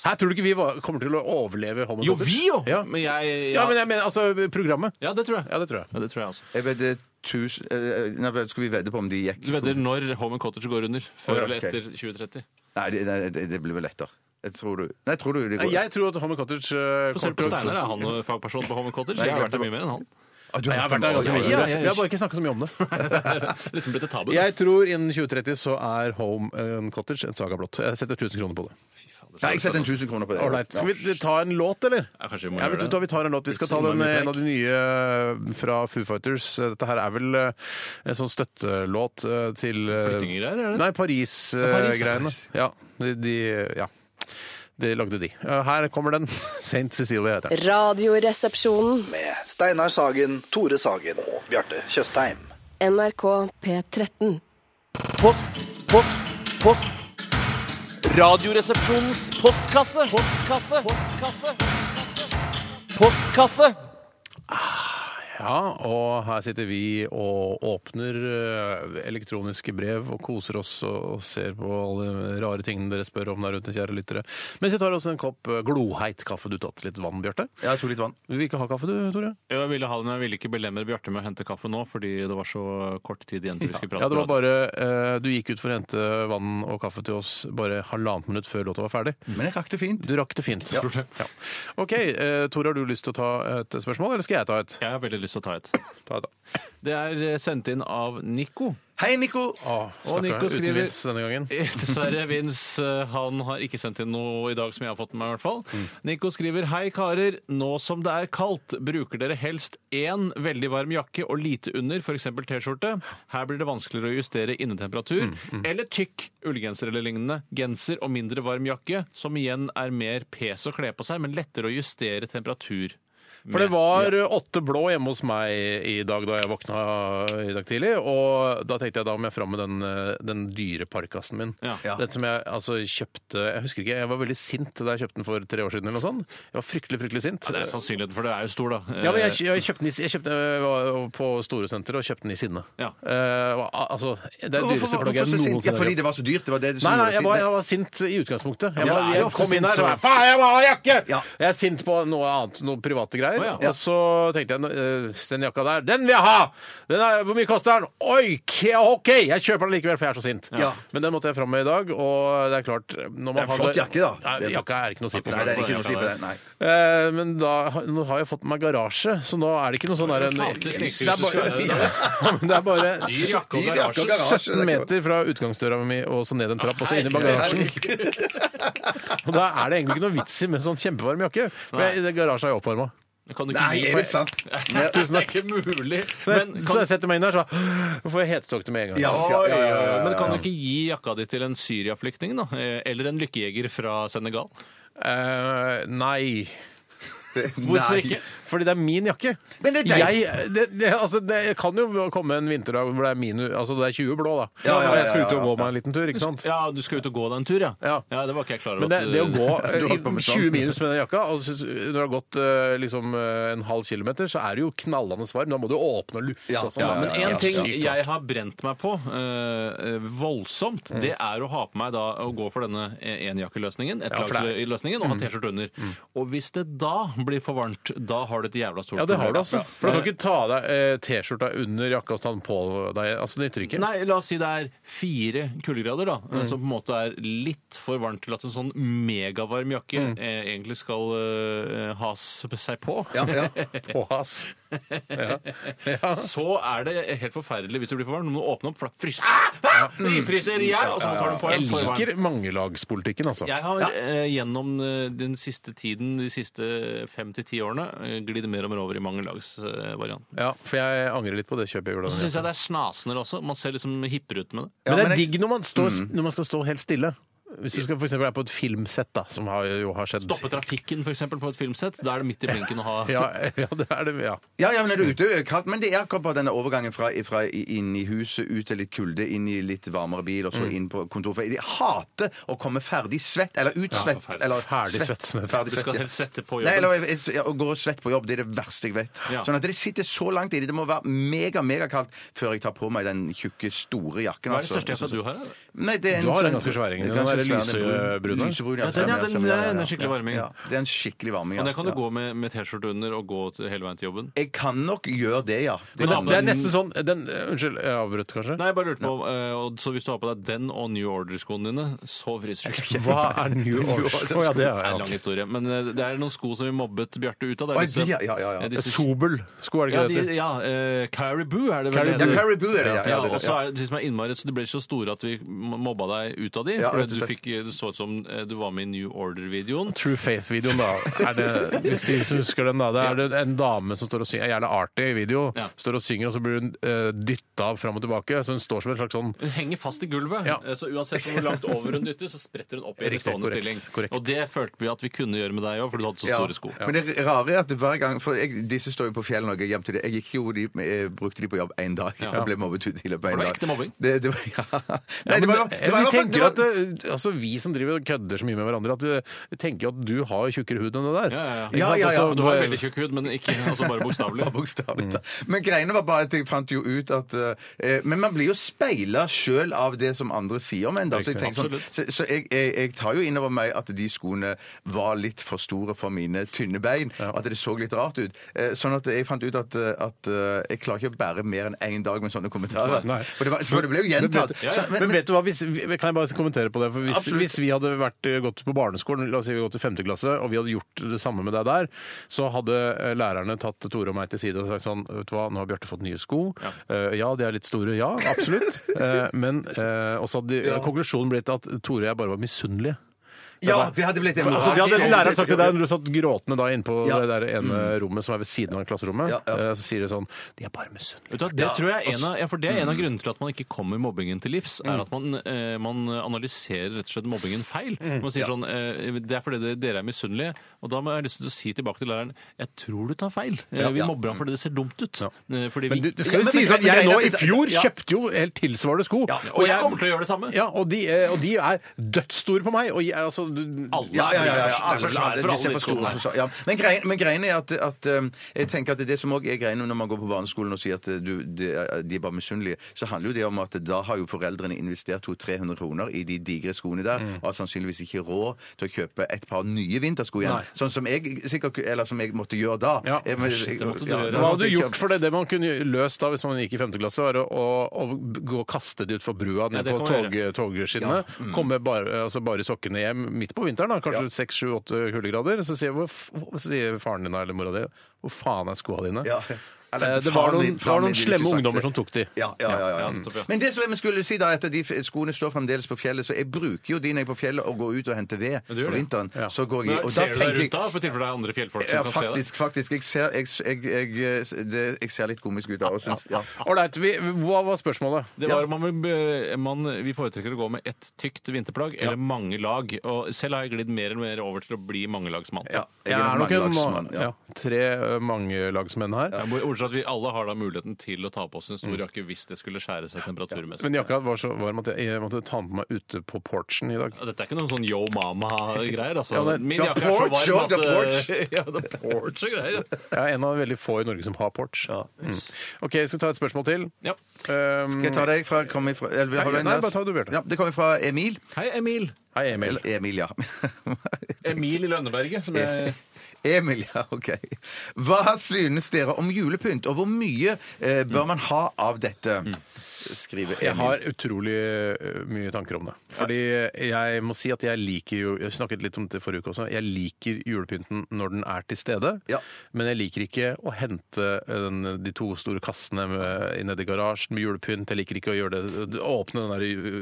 Her tror du ikke vi var, kommer til å overleve Home and Jo, Cottage? vi jo! Ja. Men jeg, ja, men jeg mener altså programmet. ja, det tror jeg. Ja, det tror jeg. Ja, det tror jeg også. Jeg vedder 1000 eh, Nei, vel, skal vi vedde på om de gikk Du vedder når Home and Cottage går under? Å, Før ja, eller ok. etter 2030? Nei, det, nei, det, det blir vel lettere. Jeg tror du Nei, tror du det går Nei, Jeg tror at Home and Cottage eh, Få se kommer på til å- Steinar. Er han eh, fagperson på Home and Cottage? Nei, Jeg har jeg vært der mye mer enn han. Ah, du Nei, jeg har vært der ganske mye. Ja, ja, ja. Vi har bare ikke snakka så mye om det. Liksom blitt et tabu. Jeg tror innen 2030 så er Home and Cottage en saga blått. Jeg setter 1000 kroner på det. Nei, jeg setter en 1000 kroner på det. Ålreit. Skal vi ta en låt, eller? Ja, kanskje vi må Ja, gjøre vet du, det. hva, vi tar en låt. Vi skal ta Ikke så den, innmari en av de nye eh, fra Foo Fighters. Dette her er vel eh, en sånn støttelåt eh, til eh, Flyttinggreier, er det? Nei, Paris, ja. Paris-greiene. ja, de, de, ja. De lagde de. Eh, Her kommer den. St. Cecilie heter den. Radioresepsjonen. Med Steinar Sagen, Tore Sagen og Bjarte Tjøstheim. NRK P13. Post, post, post. Radioresepsjonens postkasse. Postkasse. Postkasse. Postkasse. Ja, og her sitter vi og åpner eh, elektroniske brev og koser oss og og ser på alle de rare tingene dere spør om der ute, kjære lyttere. Mens vi tar oss en kopp eh, gloheit kaffe. Du tatt litt vann, Bjarte? Ja, jeg tok litt vann. Du vil ikke ha kaffe, du, Tore? Jeg ville ha den, men jeg ville ikke belemre Bjarte med å hente kaffe nå, fordi det var så kort tid igjen til vi skulle prate. Ja, det var på radio. bare eh, Du gikk ut for å hente vann og kaffe til oss bare halvannet minutt før låta var ferdig. Men jeg rakk det fint. Du rakk det fint. Ja. OK, eh, Tore, har du lyst til å ta et spørsmål, eller skal jeg ta et? Jeg har veldig lyst til å ta et. Det er eh, sendt inn av Nico. Hei, Nico! Å, Og Stakkar. Ah, Nico Uten skriver- vits denne gangen. Eh, Dessverre, Vince. eh, Han har ikke sendt inn noe i dag som jeg har fått med meg, i hvert fall. Nico skriver Hei, karer. Nå som det er kaldt, bruker dere helst én veldig varm jakke og lite under, f.eks. T-skjorte. Her blir det vanskeligere å justere innetemperatur. Eller tykk ullgenser eller lignende. Genser og mindre varm jakke, som igjen er mer pes å kle på seg, men lettere å justere temperatur. For det var åtte blå hjemme hos meg i dag da jeg våkna i dag tidlig. Og da tenkte jeg da må jeg fram med den, eh, den dyre parkasen min. Ja. Ja. Den som jeg altså kjøpte Jeg husker ikke, jeg var veldig sint da jeg kjøpte den for tre år siden eller noe sånt. Jeg var fryktelig, fryktelig sint. Ja, det er sånn, sannsynligheten, for det er jo stor, da. Eh, Ja, eh, men jeg, jeg kjøpte den i, jeg kjøpte, jeg var på Store Senter og kjøpte den i sinne. Ja. Eh, og, al- altså, det er den Hvorfor- dyreste hvorfor plagget jeg så sint? Ja, noensinne har fordi kjøpt. det var så dyrt? Det var det du som Nei, nei, gjorde jeg var, sint? jeg var sint i utgangspunktet. Jeg, Ja, var, det er jo jeg ofte kom inn sint her og som- bare, Faen, jeg må ha jakke! Ja. Jeg er sint på noe annet, noen private greier. Å, ja. Og så tenkte jeg eh, Den jakka der, den vil jeg ha! Den er, hvor mye koster den? Oi, k- OK! Jeg kjøper den likevel, for jeg er så sint. Ja. Men den måtte jeg fram med i dag, og det er klart når man Det er en flott har- jakke, da. Nei, jakka er ikke noe å si på. Nei, det er ikke noe å si på det. Nei. Eh, men da, har- nå har jeg fått meg garasje, så nå er det ikke noe sånn der en- Det er det, klart, det er bare, ja, men det er bare jakke og Dyr jakke og garasje, det er 17 ikke meter fra utgangsdøra mi og så ned en trapp og så inn i bagasjen. Og da er det egentlig ikke noe vits i med sånn kjempevarm jakke. For jeg, det garasjen er jo oppvarma. Kan du ikke Nei, gi- er det sant? Nei, det er ikke mulig. Så, jeg- Men så kan, jeg setter meg inn der, så får jeg hetestokter med en gang. Ja, ja, ja, ja, ja, ja. men kan du ikke gi jakka di til en Syria-flyktning, da? Eh, Eller en lykkejeger fra Senegal? Eh, nei. Hvorfor Nei. ikke? Fordi det er min jakke. Men det er deg. jeg, det, det, altså, det kan jo komme en vinterdag hvor det er, minu, altså, det er 20 blå, da. Ja, ja, ja, og jeg skal ja, ut og ja, gå meg en liten tur, ikke sant? Ja, du skal ut og gå deg en tur, ja? Ja. det var ikke jeg klar over. Men det, at, det å eh, gå Du holdt eh, på med sånn. 20 minus med den jakka, og så- når det har gått eh, liksom, eh, en halv kilometer, så er det jo knallende varm. Da må du åpne og lufte Ja, og sånn. ja, ja, da. Men Men én en ting ting jeg har brent meg på eh, eh, voldsomt, Mm. det er å ha på meg da å gå for denne e- enjakkeløsningen, Ja, for det er- Mm. ettlagsløsningen, og ha T-skjorte under. Og hvis det da blir for varmt, da har har du et jævla stort Ja, det har du, problem. altså. For du kan ikke ta av deg eh, T-skjorta under jakka og ta den på deg. Altså, det nytter ikke. Nei, la oss si det er fire kuldegrader, da. eh, Som på en måte er litt for varmt til at en sånn megavarm jakke Mm. eh, egentlig skal eh, ha s- seg på. Ja, ja. På has. Ja. Ja. Så er det helt forferdelig hvis du blir for varm. Nå må du åpne opp, for da fryser ah! Ah! Vi fryser i hjel! Og så må du ta den på Jeg igjen. for varm. liker mangelagspolitikken, altså. Jeg har eh, gjennom eh, den siste tiden, de siste fem til ti årene, eh, glidd mer og mer over i mangellagsvarianten. Ja, for jeg angrer litt på det kjøpet jeg gjorde. Og av den så syns jeg det er snasnere også. Man ser liksom hippere ut med det. Men det men er jeg- digg når man, står, Mm. når man skal stå helt stille. Hvis du skal for eksempel, er på et filmsett, da, som har, jo har skjedd Stoppe trafikken, f.eks., på et filmsett. Da er det midt i blinken å ha Ja, ja, det er det. Ja. Ja, ja, men er du ute, er det kaldt, men det er akkurat bare denne overgangen fra, fra inn i huset, ut til litt kulde, inn i litt varmere Mm. bil, og så inn på kontor. For jeg hater å komme ferdig svett, eller utsvett. forferdelig. eller Ferdig svett. Ferdig Du skal svett, ja. helst sette på Nei, jobben. eller jeg, jeg, jeg går svett på jobb, det er det verste jeg vet. Ja. Sånn at det sitter så langt i det. Det må være mega, megakaldt før jeg tar på meg den tjukke, store jakken. Hva er det altså. største jakka du har? da? Nei, det er en Du har en sånn- ganske svær egen. Den der ganske svær, den er brun. lysebrune. Lysebrun, Ja, den- ja, stemmer, den- stemmer, den er skikkelig varming. Ja, det er en skikkelig Og varming. ja. det kan du Ja. gå med, med T-skjorte under og gå til, hele veien til jobben. Jeg kan nok gjøre det, ja. Det Men kan det jeg. er nesten sånn den, Unnskyld, jeg avbrøt kanskje? Nei, jeg bare lurte på, eh, og så Hvis du har på deg den og New Order-skoene dine, så fryser du ikke. Hva er New Order? Å, ja, det Det er, er ja, en lang ok. historie. Men eh, det er noen sko som vi mobbet Bjarte ut av. Det Oi, er disse- de- ja, ja, ja. eh, disse- Sobel-sko, er det Ja, ikke det det de, heter? ja eh, Caribou er det vel Caribou. det heter. Ja, Caribou er det, ja. Ja, Ja, det er det, og så er det de som er innmari, så de ble så store at vi mobba deg ut av de. Ja, for rett og du slett. fikk, det så ut som eh, du var med i New Order-videoen. True Face-videoen, da. Er det, hvis de som husker den, da. Det er det en dame som står og synger, en jævla artig video, Ja. står og synger, og så blir hun uh, dytta fram og tilbake. Så hun står som en slags sånn Hun henger fast i gulvet, Ja. eh, så uansett hvor langt over hun dytter, så spretter hun opp i en Riktig, stående korrekt, stilling. korrekt. Og det følte vi at vi kunne gjøre med deg òg, for du hadde så Ja. store sko. Men det rare er at hver gang For jeg, disse står jo på fjellet når jeg er hjemme til det. Jeg gikk jo de, eh, brukte de på jobb én dag og ble mobbet ut i løpet For av en det var dag. ekte mobbing. Det, det var, ja. Nei, det Men var, det var, vi det tenker var, at eh, altså, vi som driver og kødder så mye med hverandre, at du- vi tenker jo at du har tjukkere hud enn det der. Ja, ja, ja. Ikke Ja, sant? ja, ja. Altså, Og du har veldig tjukk hud, men ikke altså bare bokstavelig. Mm. Bokstavelig talt. Men greiene var bare at jeg fant jo ut at eh, Men man blir jo speila sjøl av det som andre sier om en. Da. Så, jeg, tenker sånn, så, så jeg, jeg, jeg tar jo inn over meg at de skoene var litt for store for mine tynne bein. Og at det så litt rart ut. Eh, sånn at jeg fant ut at, eh, at eh, jeg klarer ikke å bære mer enn én dag med sånne kommentarer. Nei. For, det var, for det ble jo gjentatt. Men, Så- vet- men vet du hva, hvis, vi- kan jeg bare kommentere på det? For hvis, Absolutt. hvis vi hadde vært, eh, gått på barneskolen, la oss si vi hadde gått i femte klasse, og vi hadde gjort det samme med deg der, så hadde eh, lærerne tatt Tore og meg til side og sagt sånn, vet du hva, nå har Bjarte fått nye sko. Ja, ja de er litt store, ja, absolutt. Eh, men eh, også hadde de- konklusjonen blitt at Tore og jeg bare var misunnelige. ja, det hadde blitt en Altså, de hadde læreren sagt til deg når du satt gråtende da inne på det der ene rommet som er ved siden av klasserommet, Ja, ja. eh, så sier de sånn De er bare misunnelige. Vet du hva, det tror jeg er en av, ja, for det er en av grunnene til at man ikke kommer mobbingen til livs, er at man, eh, man analyserer rett og slett mobbingen feil. Mm. Man sier sånn, eh, Det er fordi dere- dere er misunnelige. Og da må jeg lyst til å si tilbake til læreren jeg tror du tar feil. Eh, Vi mobber ham fordi det ser dumt ut. Eh, Fordi vi, Men du, det Ja, skal jo men- sies men- at jeg men- nå i men- fjor ja. kjøpte jo helt tilsvarende sko. ja, og jeg kommer til å gjøre det samme. ja, og, de, eh, og de er dødsstore på meg. Og jeg, altså, du, Alle Ja, ja, ja. ja, ja. er Alle for alle skjønner det. de De ser for skoene store her. for store. Ja. Men, greien, men greien er at, at um, jeg tenker at det som også er greien når man går på barneskolen og sier at uh, du, de, er- de er bare misunnelige, så handler jo det om at da har jo foreldrene investert 200-300 kroner i de digre skoene der, Mm. og har sannsynligvis ikke råd til å kjøpe et par nye vintersko igjen. Nei. Sånn som jeg, sikkert, eller som jeg måtte gjøre da. Ja. Jeg- men- Shit, det måtte du ja, gjøre. da Hva måtte hadde du jeg gjort kjøpe- for det? Det man kunne løst da hvis man gikk i 5. klasse, var å, å, å gå og kaste de utfor brua ned det på kan man mm. tog, eh, togskinnene. Komme bare, altså bare i sokkene hjem midt på vinteren, da, kanskje 6-7-8 kuldegrader. Så sier, hvor, f- hvor- sier faren din da, eller mora di hvor faen er skoa dine? Ja. Eller, Eh, det faen var noen, min- det var faen min, noen ville slemme ikke sagt ungdommer det. som tok de. Ja, ja, ja, ja. Ja, nettopp, ja. Men det som jeg skulle si da, er at de f- skoene står fremdeles på fjellet, så jeg bruker jo de når jeg er på fjellet og går ut og henter ved du gjør på det. vinteren. Ja. Så går jeg, Men og da Ser du deg rundt tenker jeg da, for i tilfelle det er andre fjellfolk som ja, kan se det? faktisk, faktisk. Jeg ser, jeg, jeg, jeg, det, jeg ser litt komisk ut da. og syns- ja. Ålreit, vi- hva var spørsmålet? Det var, man, vil be- man, vi foretrekker å gå med ett tykt vinterplagg eller mange lag. Og selv har jeg glidd mer eller mer over til å bli mangelagsmann. Ja, Jeg er nok en mangelagsmann, ma- ja, tre eh, mangelagsmenn her. Jeg må- Bortsett fra at vi alle har da muligheten til å ta på oss en Mm. stor jakke hvis det skulle skjære seg temperaturmessig. Men jakka var så varm at jeg, jeg måtte ta den på meg ute på porchen i dag. Ja, Dette er ikke noen sånn yo mama-greier, altså. Ja, men- Min The jakke er porch, så ja, varm the at porch. eh, Ja, the porch og greier. ja. Jeg er en av veldig få i Norge som har porch. Mm. OK, jeg skal ta et spørsmål til. Ja. Um, Skal jeg ta deg fra, kom ifra eller, vil du ha Nei, en nei, der? bare ta du, Bjarte. Ja, det kommer fra Emil. Hei, Emil. Hei, Emil. Eller Emil, ja. Emil i Lønneberget. Som jeg... Emil, ja, ok. Hva synes dere om julepynt, og hvor mye eh, bør man ha av dette? Skriver Emil. Mm. Jeg har utrolig ø, mye tanker om det. Fordi jeg må si at jeg liker jo Jeg snakket litt om det forrige uke også. Jeg liker julepynten når den er til stede, Ja. men jeg liker ikke å hente eh, den, de to store kassene med- nedi garasjen med julepynt. Jeg liker ikke å gjøre det, åpne den der ø,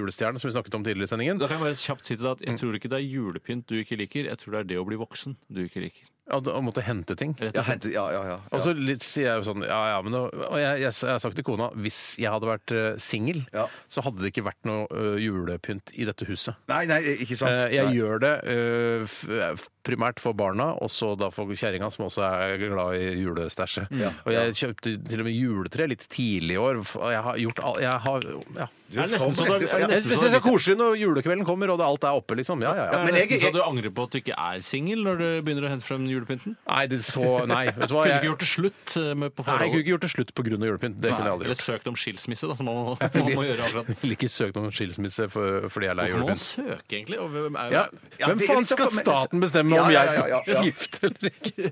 julestjernen som vi snakket om tidligere i sendingen. Da kan jeg bare kjapt si til deg at jeg tror ikke det er julepynt du ikke liker, jeg tror det er det å bli voksen du ikke liker. Ja, da- Å måtte hente ting. Rett ja, og slett. hent- ja, ja, ja. Og så litt, sier jeg jo sånn Ja, ja, men nå, Og jeg, jeg, jeg har sagt til kona hvis jeg hadde vært eh, singel, Ja. så hadde det ikke vært noe eh, julepynt i dette huset. Nei, nei, ikke sant. Eh, jeg Nei. gjør det eh, f f- primært for barna, og så da for kjerringa, som også er glad i julestæsjet. Mm. Og jeg kjøpte til og med juletre litt tidlig i år, f- og jeg har gjort all, jeg har, ja. Det er nesten så du er- det er Jeg nesten syns så du det er er koselig når julekvelden kommer og det, alt er oppe, liksom. Ja, ja, ja. Er det men jeg- nesten så du angrer på at du ikke er singel når du begynner å hente frem julepynten? Nei, det så Nei, vet du hva. Kunne Jeg, ikke gjort det slutt eh, med på nei, jeg kunne forholdet? ikke gjort det slutt pga. julepynt. Det kunne jeg aldri Eller gjort. søkt om skilsmisse, da, som man må, man må gjøre akkurat. Ville ikke søkt om skilsmisse for, fordi jeg er lei Hvorfor må man julepynt. søke, egentlig? Og hvem er Ja. Ja, Hvem det er faen litt skal sånn- staten bestemme Ja, om ja, jeg ja, ja, ja. er gift eller ikke?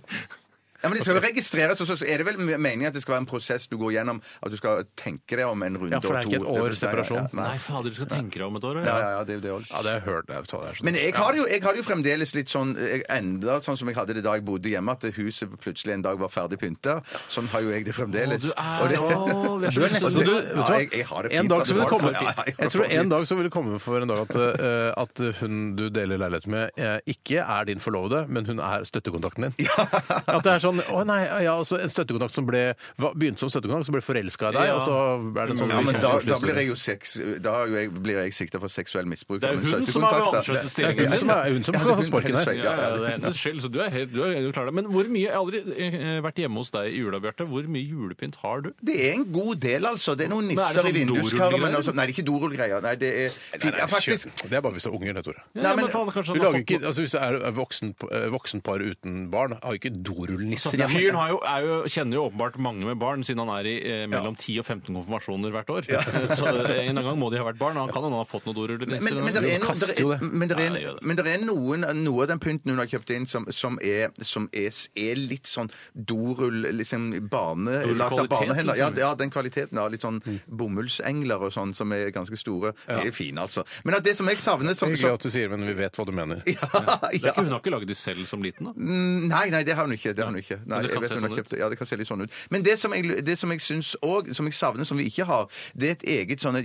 Ja, men De skal jo registreres, og så er det vel meningen at det skal være en prosess du går gjennom, at du skal tenke deg om en runde Ja, for det er ikke et og to. års separasjon. Nei, Nei, fader, du skal tenke deg om et år. ja, eller? ja, ja, det er jo det også. Ja, det har jeg hørt. Jeg tar det her sånn. Men jeg har, det jo, jeg har det jo fremdeles litt sånn jeg enda sånn som jeg hadde det da jeg bodde hjemme, at huset plutselig en dag var ferdig pynta. Sånn har jo jeg det fremdeles. Å, du er- Og det- å, vi er så Og det- lykkelig. Du, Du- vet du ja, hva? jeg, jeg har det fint. en dag altså. så vil det komme Ja, ja, jeg har Jeg det tror en fint. dag så vil det komme for en dag at, eh, at hun du deler leilighet med, eh, ikke er din forlovede, men hun er støttekontakten din. At det er sånn Å nei, ja, altså en støttekontakt som ble hva- Begynte som støttekontakt, så ble forelska i deg, Ja. og så er det en sånn ja, men da, kjempekoselig da blir historie. jeg jo sex, da er jo jeg, blir jeg sikta for seksuell misbruk. Det er av en jo hun som har støttekontakt, da. ansluttet Det er stillingen hun sin. som er- hun som Ja, det skal er hun, ha sparken helt her. sikkert. Ja, ja, det er hennes skyld, så du er helt, du er, du klarer det. Men hvor mye, jeg har aldri eh, vært hjemme hos deg i jula, Bjarte. Hvor mye julepynt har du? Det er en god del, altså. Det er noen er det nisser i sånn vinduskarmen. dorullgreier? og sånt. Nei, det er ikke dorullgreier. Nei, det er ja, faktisk Kjøp. Det er bare hvis du har unger, det, Tore. Ja, Nei, men, men- faen, kanskje Du han har lager fått ikke, altså Hvis du er voksen, eh, voksenpar uten barn, har jo ikke dorullnisser Så hjemme. Fyren har jo, er jo, kjenner jo åpenbart mange med barn, siden han er i eh, mellom 10 og 15 konfirmasjoner hvert år. Så eh, en gang må de ha vært barn. Han kan hende han har fått noen doruller. men, men, det er, Du noen, kaster det jo er, det. men, det Nei, er, det gjør det. men det er noen, noe av den pynten hun har kjøpt inn, som, som, er, som er, er litt sånn dorull liksom bane, Lagt av Dorullkvalitet, barnehender. Ja, liksom. det- ja, den kvaliteten. Ja, litt sånn bomullsengler og sånn, som er ganske store. De er fine, altså. Men at det som jeg savner som, Hyggelig som at du sier det, men vi vet hva du mener. ja, Det er ikke, ja. hun har ikke lagd de selv som liten, da? Nei, nei, det har hun ikke. Det har hun ikke. Nei, det kan jeg vet se hun har sånn ut. kjøpt det. Ja, det kan se litt sånn ut. Men det som jeg, det som jeg syns òg, som jeg savner, som vi ikke har, det er et eget sånn et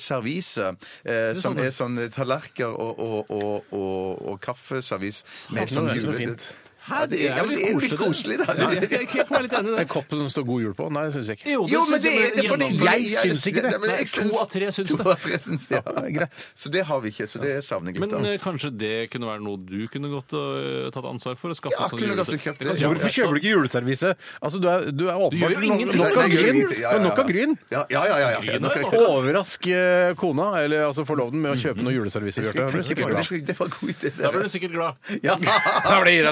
juleservise. Eh, som er sånn tallerkener og, og, og, og, og kaffeservis. Savner det, det er ikke noe fint. Hæ, det er, ja, men det er jo litt koselig, da. Ja, jeg, jeg, jeg er litt enig i En det. kopp som står 'God jul' på? Nei, det syns jeg ikke. Jo, men det er det fordi Jeg syns ikke det. Ja, men jeg Nei, syns- to av tre syns det. To av tre syns det, Ja, det er ja. Så det har vi ikke. Så det savner jeg litt. Men av. eh, kanskje det kunne være noe du kunne gått og eh, tatt ansvar for? Å skaffe Ja, en sånn kunne godt juleservice. kjøpt det. kan Ja, være Hvorfor greit å- kjøper du ikke juleservise? Altså, Du er, du er åpenbart gjør jo Nok ingenting. Nei, av det er jo gryn! ingenting. Du er Nok av gryn! Ja, ja, ja. ja, ja. Gryn er Nok av- Overrask eh, kona, eller altså forloveden, med å kjøpe noe juleservise. Skal Bjarte. Mm-hmm. jeg tenke på det? Det skal- Det var en god idé. Da blir du sikkert glad. Ja. Da blir hun sikkert glad. Da blir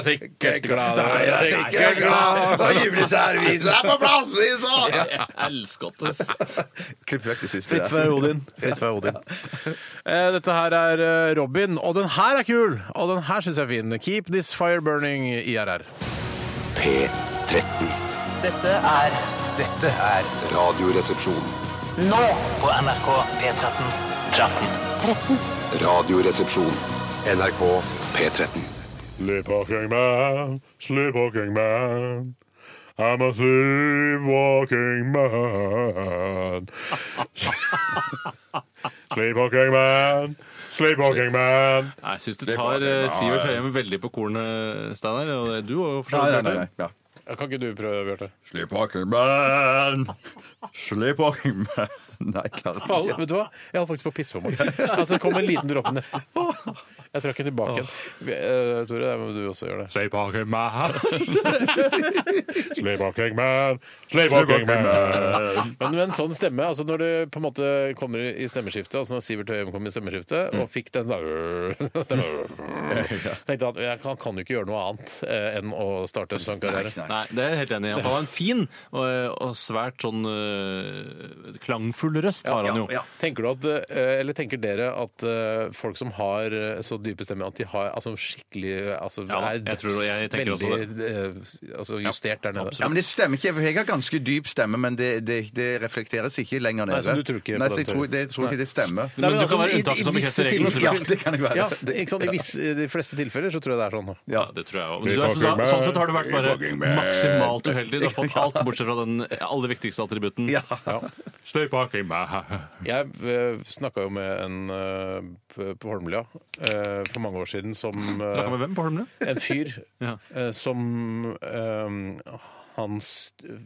hun sikkert glad. Og juleservise er på plass! Jeg elsker at det Klipp vekk det siste. Fritt der. vær Odin. Fritt vær Odin. Eh, Dette her er eh, Robin, og den her er kul! Og den her syns jeg er fin. Keep this fire burning, IRR. P13. Dette er Dette er Radioresepsjon. Nå på NRK P13 Radioresepsjon. NRK P13. Sleepwalking man, sleepwalking man. I'm a sleepwalking man. sleepwalking man, sleepwalking man. Nei, Jeg syns du tar eh, Sivert Høyem veldig på kornet, Steinar. Og du òg, for så Nei, vidt. nei, Bjarte. nei, ja. Kan ikke du prøve, Bjarte? Sleepwalking man, sleepwalking man. Nei, jeg klarer ikke. Faen, vet du hva? Jeg holdt faktisk på å pisse på meg. Altså, det kom en liten dråpe nesten. Jeg trakk den tilbake igjen. Eh, Tore, der må du også gjøre det. Sleepwalking man, sleepwalking man, sleepwalking man. Men med en sånn stemme, altså når du på en måte kommer i stemmeskiftet, altså når Sivert Høyem kom i stemmeskiftet, Mm. og fikk den da- stemmen, tenkte han, jeg kan, kan jo ikke gjøre noe annet eh, enn å starte en sånn karriere. Nei, nei. Nei, det er jeg helt enig i. Han har en fin og, og svært sånn øh, klangfull røst, har han jo. ja. Tenker, du at, eh, eller tenker dere at eh, folk som har eh, så dype stemmer at de har altså, skikkelig eh, altså, Ja, er jeg tror det, jeg tenker også veldig, eh, altså, justert der nede? Ja, men Det stemmer ikke. for Jeg har ganske dyp stemme, men det, det, det reflekteres ikke lenger nede. Nei, så du tror ikke på Nei, så den jeg tror, teorien? det, jeg tror ikke det stemmer. Men du kan altså, være i- unntaket i som visse bekrefter regelen, tilfeller- Ja, det kan jeg være. Ja, ikke sant? I, visse, I de fleste tilfeller så tror jeg det er sånn. da. Ja, det tror jeg også. Men du er, sånn, sånn sett har du vært bare maksimalt uheldig. Du har fått alt bortsett fra den aller viktigste attributten. Ja. Stay parking man. Jeg eh, snakka jo med en eh, p- på Holmlia eh, for mange år siden som eh, Snakka med hvem på Holmlia? En fyr Ja. eh, som eh, hans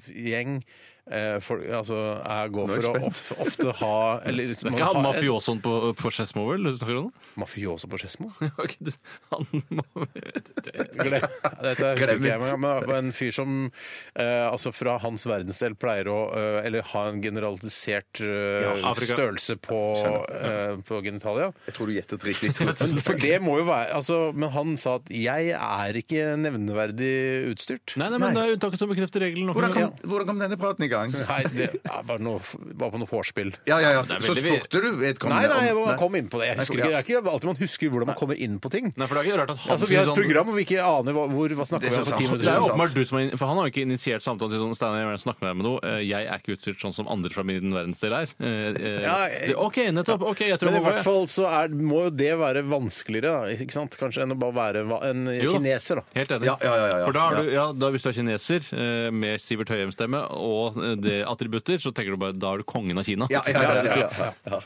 gjeng eh, for, altså, er, går er jeg for å spent. of, ofte ha eller, Det er ikke han mafiosoen på, på Skedsmo, vel? Du snakker om? Mafioso på Skedsmo? Ok, du- Han må Det- Glem. Dette husker Glem ikke jeg, it. men- men men en fyr som eh, altså fra hans verdensdel pleier å eh, eller ha en generalisert eh, Ja, Afrika. størrelse på, eh, på genitalia. Jeg tror du gjettet riktig. Men, for det må jo være, altså, men han sa at 'jeg er ikke nevneverdig utstyrt'. Nei, nei, men det er unntaket som bekrefter regelen. nå. Hvordan Ja. kom, hvordan kom denne praten i gang? Nei, det er bare, noe, bare på noe vorspiel. Ja, ja, ja. Det er Så veldig- spurte du Nei, vedkommende nei, jeg om- bare kom inn på det. Jeg husker Nei, ikke, det ja. er ikke alltid man husker hvordan man kommer inn på ting. Nei, for det er ikke rart at han Altså, Vi har et skulle sånn- program hvor vi ikke aner hva, hvor, hva snakker Det er vi om så for sant. ti Det minutter er jo sant. åpenbart du som er, for Han har jo ikke initiert samtalen til sånn Steinar, jeg vil gjerne snakke med deg med noe. Eh, Jeg er ikke utstyrt sånn som andre fra min verdensdel er. Eh, eh, Ja, jeg- det- OK, nettopp. ok, jeg tror Men i jeg må gå, hvert jeg. fall så er, må jo det være vanskeligere, da, ikke sant? Kanskje, enn å bare være va- en Jo da. kineser, da. Helt enig. Ja, ja, ja, ja. For da, er Ja. du, ja, da Hvis du er kineser eh, med Sivert Høyem-stemme og eh, det attributter, så tenker du bare da er du kongen av Kina. Ja, ja, ja, ja, ja.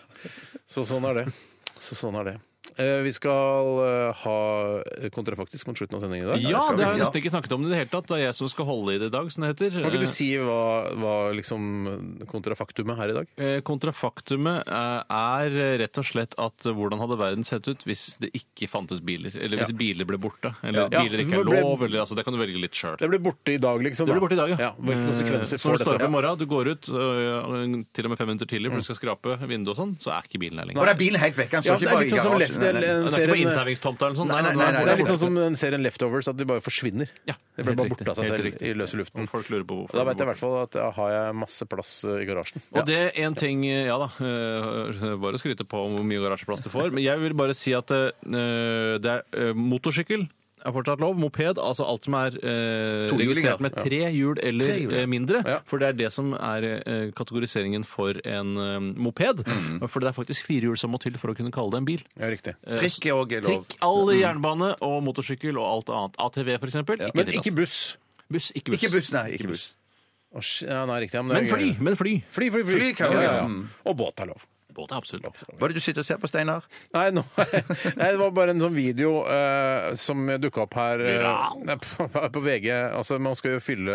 Så sånn er det. Så sånn er det. Eh, vi skal eh, ha kontrafaktisk mot slutten av sendingen i dag. Ja, det har jeg Ja. nesten ikke snakket om i det hele tatt. Det er jeg som skal holde i det i dag, som det heter. Eh, Kan ikke du si hva, hva liksom kontrafaktumet her i dag? Eh, Kontrafaktumet eh, er rett og slett at eh, hvordan hadde verden sett ut hvis det ikke fantes biler? Eller hvis Ja. biler ble borte? Eller Ja. biler ikke Ja, er ble- lov? Eller, altså, det kan du velge litt sjøl. Det blir borte i dag, liksom. Det da. blir borte i dag, ja. Hvilke konsekvenser Eh, så når får du står dette? Mm. opp i morgen, du går ut øh, til og med fem minutter tidlig for du skal skrape vinduet og sånn, så er ikke bilen her Og lenger. da er bilen helt vekk. Han står Ja, det ikke er bare i litt sånn som garasjen. left, Nei, nei. Den en er ikke serien, på inntavingstomta eller noe sånt? Nei, nei, den nei, er nei, borte. det er litt sånn som den serien Leftovers, at de bare forsvinner. Ja, det blir helt bare riktig, borte av seg helt selv riktig. i løse luften. Og folk lurer på hvorfor Da den veit blir jeg i hvert fall at da har jeg masse plass eh, i garasjen. Og det er en ting Ja da, eh, bare å skryte på om hvor mye garasjeplass du får. Men jeg vil bare si at eh, det er eh, motorsykkel er fortsatt lov. Moped, altså alt som er eh, Tohjuling, registrert ja. med tre hjul eller Tre hjul, ja. eh, mindre. Ja. For det er det som er eh, kategoriseringen for en eh, moped. For det er faktisk fire hjul som må til for å kunne kalle det en bil. Ja, riktig. Eh, Trikk er også lov. Trikk, all jernbane og motorsykkel og alt annet. ATV, for eksempel. Ikke Men tillatt. ikke buss. buss. Ikke buss. Ikke buss, nei. Ikke buss. Å, sh- ja, nei, riktig. ja, Men, det Men er fly! gøy. Men fly. Fly, fly, fly. Fly kan vi, ja, ja, ja. Mm. ja. Og båt er lov. Båt er absolutt lov. Hva er det du sitter og ser på, Steinar? Nei, nå, nei, det var bare en sånn video eh, som dukka opp her eh, på, på VG. Altså, Man skal jo fylle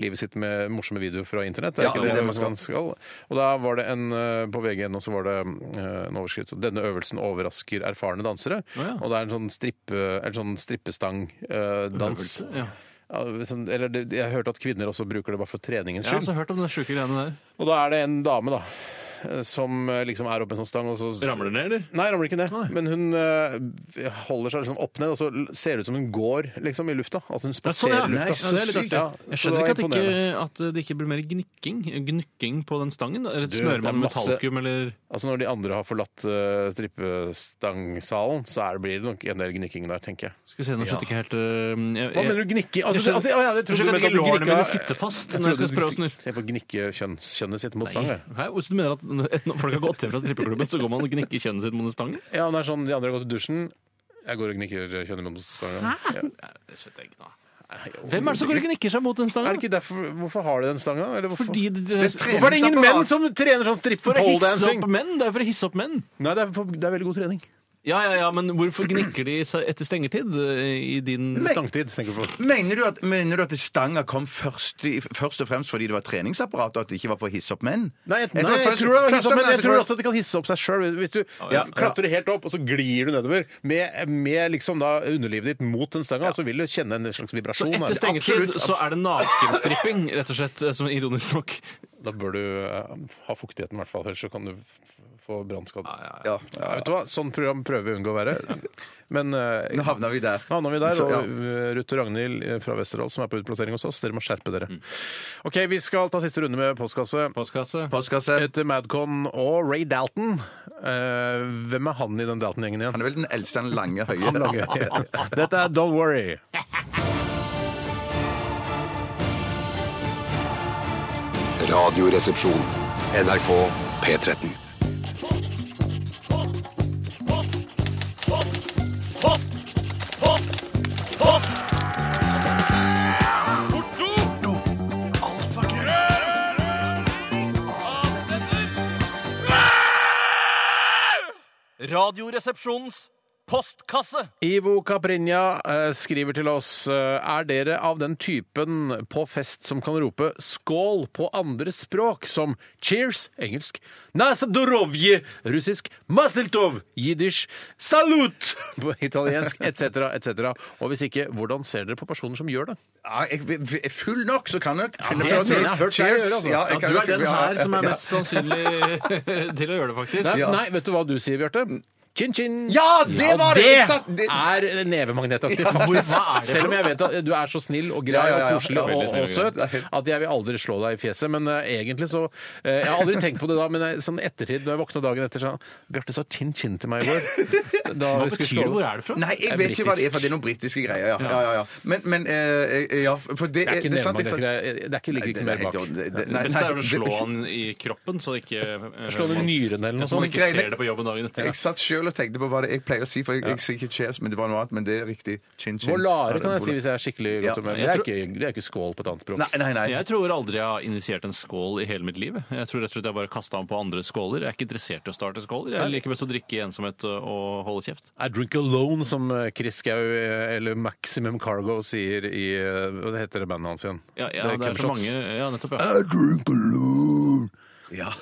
livet sitt med morsomme videoer fra internett. Det er Ja, ikke det er det, det man man skal. Og da var det en eh, på VG nå så var det eh, en overskrift som 'Denne øvelsen overrasker erfarne dansere'. ja. Og det er en sånn, strippe, eller sånn strippestang-dans. Øvelse, ja. sånn, eller det, jeg hørte at kvinner også bruker det bare for treningens Jeg har skyld. altså hørt om den sjuke greiene der. Og da er det en dame, da, eh, som eh, liksom er oppe i en sånn stang, og så Ramler det ned, eller? Nei, ramler ikke ned. Men hun eh, holder seg liksom opp ned, og så l- ser det ut som hun går liksom i lufta. At hun Ja, sånn, spaserer ja. i lufta. Nei, så det er litt artig. Ja, Jeg så det skjønner var ikke at det ikke, imponerende. at det ikke blir mer gnikking, gnukking på den stangen. da. Eller Du, smører det er man masse- metallkum eller Altså Når de andre har forlatt eh, strippestangsalen, så er det, blir det nok en del gnikking der, tenker jeg. Skal vi se, nå skjønte ikke helt øhm, jeg- Hva mener du gnikke? Altså, Jeg skjønner- at- ja, ja, jeg Jeg trodde skjønner du ikke mente at lårene gnikka- mine sitter fast når jeg trodde skal prøve å du- snurre. Jeg får gnikke kjønns, kjønnet sitt mot stang. Nei. jeg. Hæ? Så du mener at n- når folk har gått hjem fra strippeklubben, så går man og gnikker kjønnet sitt mot en stang? Ja, men det er sånn, De andre har gått i dusjen. Jeg går og gnikker kjønnet mot stanga. Ja. Hvem er det som går og gnikker seg mot den Er stanga? det ikke derfor, hvorfor har de den stanga? Eller hvorfor? Fordi det, det, Det er tre- hvorfor er det ingen menn Treningsapparat. som trener sånn strippe for å pole hisse dancing? opp menn? Det er for å hisse opp menn. Nei, det er, for, det er veldig god trening. Ja, ja, ja, men hvorfor gnikker de seg etter stengetid eh, i din Stangtid, tenker folk. Mener du at, mener du at stanga kom først, i- først og fremst fordi det var et treningsapparat, og at det ikke var på å hisse opp menn? Nei, jeg, Jeg nei, tror jeg først- tror, det er først hisse opp, men og jeg fremst- tror også at det kan hisse opp seg sjøl. Hvis du ja. klatrer helt opp, og så glir du nedover med, med liksom da underlivet ditt mot den stanga, så vil du kjenne en slags Så vibrasjon. etter her. stengetid så er det nakenstripping, rett og slett, eh, som ironisk nok. Da bør du eh, ha fuktigheten, i hvert fall. Ellers så kan du få brannskadd. Ja, ja, Ja. Ja, vet du hva? Sånn program prøver vi å unngå å være. Men eh, Nå havna vi der. havna vi der. Så, ja. Og eh, Ruth og Ragnhild fra Westerdal som er på utplassering hos oss, dere må skjerpe dere. Mm. OK, vi skal ta siste runde med postkasse. Postkasse. Postkasse. Etter Madcon og Ray Dalton. Eh, hvem er han i den Dalton-gjengen igjen? Han er vel den eldste, han lange, høye. Han lager- Dette er Don't Worry. Radioresepsjon. NRK P13. Radioresepsjonens postkasse. Ivo Caprinja eh, skriver til oss eh, Er dere av den typen på fest som kan rope 'skål' på andre språk, som 'cheers' engelsk, 'nasadorovje' russisk, 'mazeltov' jiddisch, 'salut' på italiensk, etc., etc.? Og hvis ikke, hvordan ser dere på personer som gjør det? Ja, jeg, jeg er full nok, så kan jeg finne det på tror jeg jeg har hørt deg gjøre, altså. Ja, Ja, du jeg kan jo er den finne- her som er Ja. mest sannsynlig til å gjøre det, faktisk. Nei, Ja. nei vet du hva du sier, Bjarte? Chin-chin. Ja, det var det! Jeg satt- det- er nevemagnetaktig, faktisk. Selv om jeg vet at du er så snill og grei Ja, ja, ja, ja. og koselig og, Veldig og, snill og søt grei. at jeg vil aldri slå deg i fjeset. Men eh, egentlig så eh, Jeg har aldri tenkt på det da, men jeg, sånn ettertid, når jeg våkna dagen etter, sa han, Bjarte sa chin-chin til meg i går. Da Hva vi skulle betyr det? slå- Hvor er det fra? Nei, jeg er vet ikke hva det er, britisk. for det er noen britiske greier. Ja, ja, ja. ja. Men, men eh, eh, ja, for det, Det er ikke det sant, jeg satt- nevemagnetaktig. Det er ikke ligger ikke mer bak. Det, det, Det nei, beste nei, er vel å slå det- han i kroppen, så ikke eh, Slå ned man- nyren eller noe Så sånt. man ikke ser det på jobben dagen etter. Jeg satt sjøl og tenkte på hva det jeg pleier å si, for jeg, jeg sier ikke cheers, men det var noe annet. Men det er riktig. Chin, chin. Volare kan jeg si hvis jeg er skikkelig i Ja. godt humør. Jeg men Det er tror- ikke- det er ikke skål på et annet språk. Nei, nei, nei. Jeg tror aldri jeg har initiert en skål i hele mitt liv. Jeg tror rett og slett jeg bare kasta den på andre skåler. Jeg er ikke interessert i å starte skåler. Jeg liker best å drikke i ensomhet og- og holde kjeft. I drink alone, som eh, Chris Gau eh, eller Maximum Cargo sier i eh, Hva det heter det bandet hans igjen? Ja, ja, det er så Killshots. mange Ja, nettopp, ja. I drink alone. ja,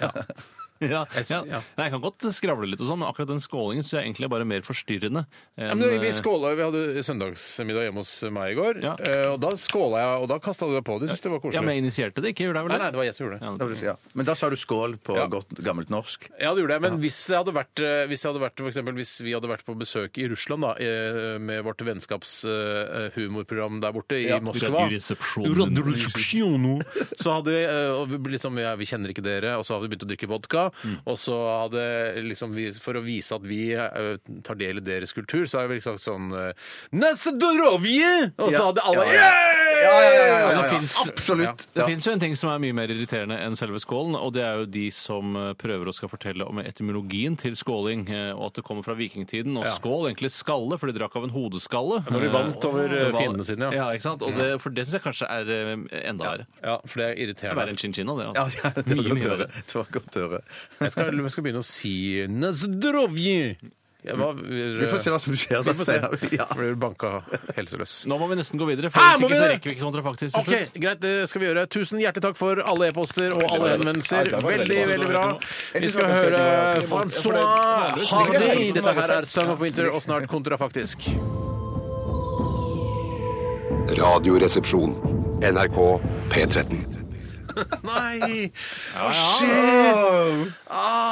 Jeg s- ja. ja. Nei, jeg kan godt skravle litt og sånn, men akkurat den skålingen syns jeg egentlig er bare mer forstyrrende. Ja, enn, men vi eh, skåla, vi hadde søndagsmiddag hjemme hos meg i går, Ja. eh, og da skåla jeg, og da kasta du deg på. Du syntes det var ja, koselig. men jeg initierte det ikke, gjorde jeg vel Nei, nei, det var jeg som gjorde det. Ja, Da ble det- Ja. Men da sa du skål på Ja. godt gammelt norsk. Ja, det gjorde jeg, men hvis jeg hadde vært, eh, hvis, jeg hadde vært for eksempel, hvis vi hadde vært på besøk i Russland da, eh, med vårt vennskapshumorprogram der borte i Ja, Moskva Radioresepsjonen. Radioresepsjonen. Så hadde vi, eh, og vi liksom, ja, vi kjenner ikke dere, og så hadde vi begynt å drikke vodka, Mm. og så hadde liksom vi, for å vise at vi eh, tar del i deres kultur, så hadde vi liksom sånn eh, Nesedorovje! Og så Ja. hadde alle Ja, ja. «Yeah!» Ja, ja, ja, ja, ja, Og det ja. finnes- Absolutt. Det Ja. finnes jo en ting som er mye mer irriterende enn selve skålen, og det er jo de som eh, prøver å skal fortelle om etymologien til skåling, eh, og at det kommer fra vikingtiden. Og Ja. skål, egentlig skalle, for de drakk av en hodeskalle. når de Eh, vant over, eh, og- fiendene sine, ja. ja. ikke sant? Og det, for det syns jeg kanskje er eh, enda verre. Ja, for det er Det er irriterende. verre enn chinchina, det. Ja, altså. ja, det var Mye, godt mye å høre. verre. Det var godt å høre. Jeg skal, jeg skal begynne å si Nesedorovje! Ja, hva- Vi får se hva som skjer da Vi får se. senere. Ja. Jeg Blir banka helseløs. Nå må vi nesten gå videre, for Hæ, hvis må ikke vi så det? rekker vi ikke kontrafaktisk til Ok, slutt. Greit, det skal vi gjøre. Tusen hjertelig takk for alle e-poster og alle henvendelser. Veldig, veldig bra. Vi skal høre Francois Hardy. Dette her er Song of Winter og snart Kontrafaktisk. Radioresepsjon. NRK P13. Nei!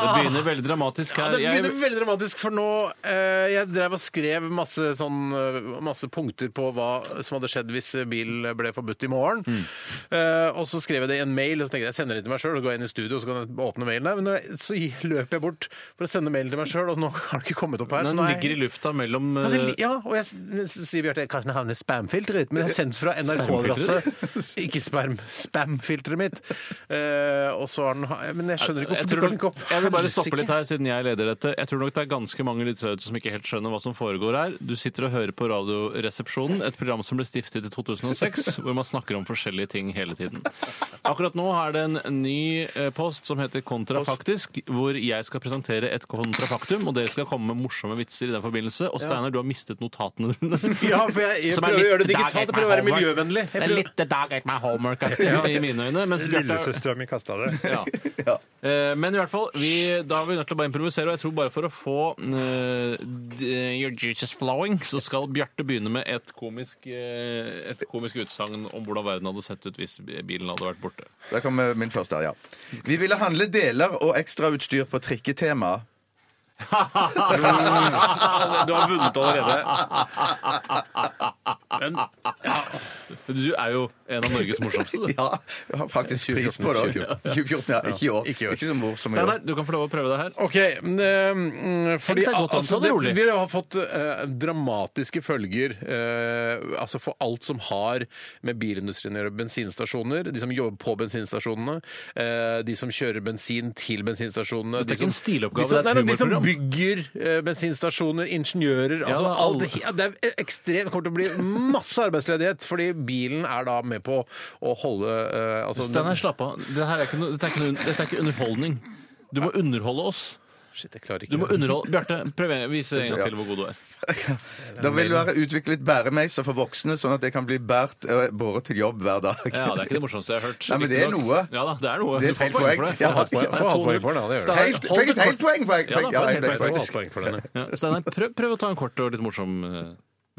Det begynner veldig dramatisk Ja, her. det begynner Jeg- veldig dramatisk, for nå eh, Jeg drev og skrev masse, sånn, eh, masse punkter på hva som hadde skjedd hvis bil ble forbudt i morgen. Mm. Eh, og så skrev jeg det i en mail, og så tenkte jeg jeg sender det til meg sjøl. Så går jeg inn i studio og så kan jeg åpne mailen der. Men når jeg, så gi- løper jeg bort for å sende mailen til meg sjøl, og nå har den ikke kommet opp her. så Den nå er jeg- ligger i lufta mellom Ja, den eh, li- ja, og jeg s- s- sier Bjarte kanskje den havner i spamfilteret, men jeg er sendt fra NRK-adresse. Ikke sperm, spamfilteret mitt. Eh, og så har den ha- Men jeg skjønner ikke Jeg hvorfor tror dukker den ikke nok, opp. jeg vil bare Helsike. stoppe litt her, siden jeg leder dette. Jeg tror nok det er ganske mange lyttere ute som ikke helt skjønner hva som foregår her. Du sitter og hører på Radioresepsjonen, et program som ble stiftet i 2006, hvor man snakker om forskjellige ting hele tiden. Akkurat nå er det en ny eh, post som heter Kontrafaktisk, hvor jeg skal presentere et kontrafaktum, og dere skal komme med morsomme vitser i den forbindelse. Og Steinar, du har mistet notatene dine. Ja, for jeg, jeg Som prøver er å litt gjøre det dag digitalt. etter Jeg prøver å være homework. miljøvennlig. Jeg Det er prøver- litt dag etter my homework-aktig i mine øyne. Men Lillesøstera mi kasta det. Ja. Eh, Men i hvert fall, vi, da er vi nødt til å bare improvisere, og jeg tror bare for å få eh, d- Your Jesus Flowing, så skal Bjarte begynne med et komisk, eh, et komisk utsagn om hvordan verden hadde sett ut hvis bilen hadde vært borte. Der kommer min første her, ja. Vi ville handle deler og ekstrautstyr på trikketema. Mm. Du har vunnet allerede. Men Du er jo en av Norges morsomste, du. Ja, jeg har faktisk pris på det. også. 2014, ja. Ikke i år. Ikke i år. Ikke så morsom i år. Steinar, du kan få lov å prøve deg her. OK. men, eh, mm, fordi Tenk deg godt an, altså, ta det det, rolig. vi har fått eh, dramatiske følger eh, altså for alt som har med bilindustrien å gjøre. Bensinstasjoner, de som jobber på bensinstasjonene, eh, de som kjører bensin til bensinstasjonene Dette de er ikke en som- stiloppgave, de som- det er et nei, nei, De som humorprogram. bygger eh, bensinstasjoner, ingeniører altså, da, alt, alle. ja, Det er e-, ekstremt Det kommer til å bli masse arbeidsledighet, fordi bilen er da med på å holde eh, altså, Steinar, slapp av. Dette er, ikke noe, dette, er ikke noe, dette er ikke underholdning. Du må underholde oss. Shit, jeg klarer ikke Du må det. underholde Bjarte, prøv en- vis en gang til hvor god du er. Det vil være utviklet bæremeiser for voksne, sånn at det kan bli bært og båret til jobb hver dag. Ja, Det er ikke det morsomste jeg har hørt. Nei, men det er Riktignok. noe. Ja da, det er noe. Det er Du får et helt poeng for poeng. det. Ja. Får halvt Får halvt poeng. poeng for det, ja, det gjør det. Steinar, Helt, hold det fikk et kort. helt poeng! poeng, Ja, da, poeng. Ja, får et helt helt poeng, poeng. faktisk. Ja, Steinar, prøv, prøv å ta en kort og litt morsom eh,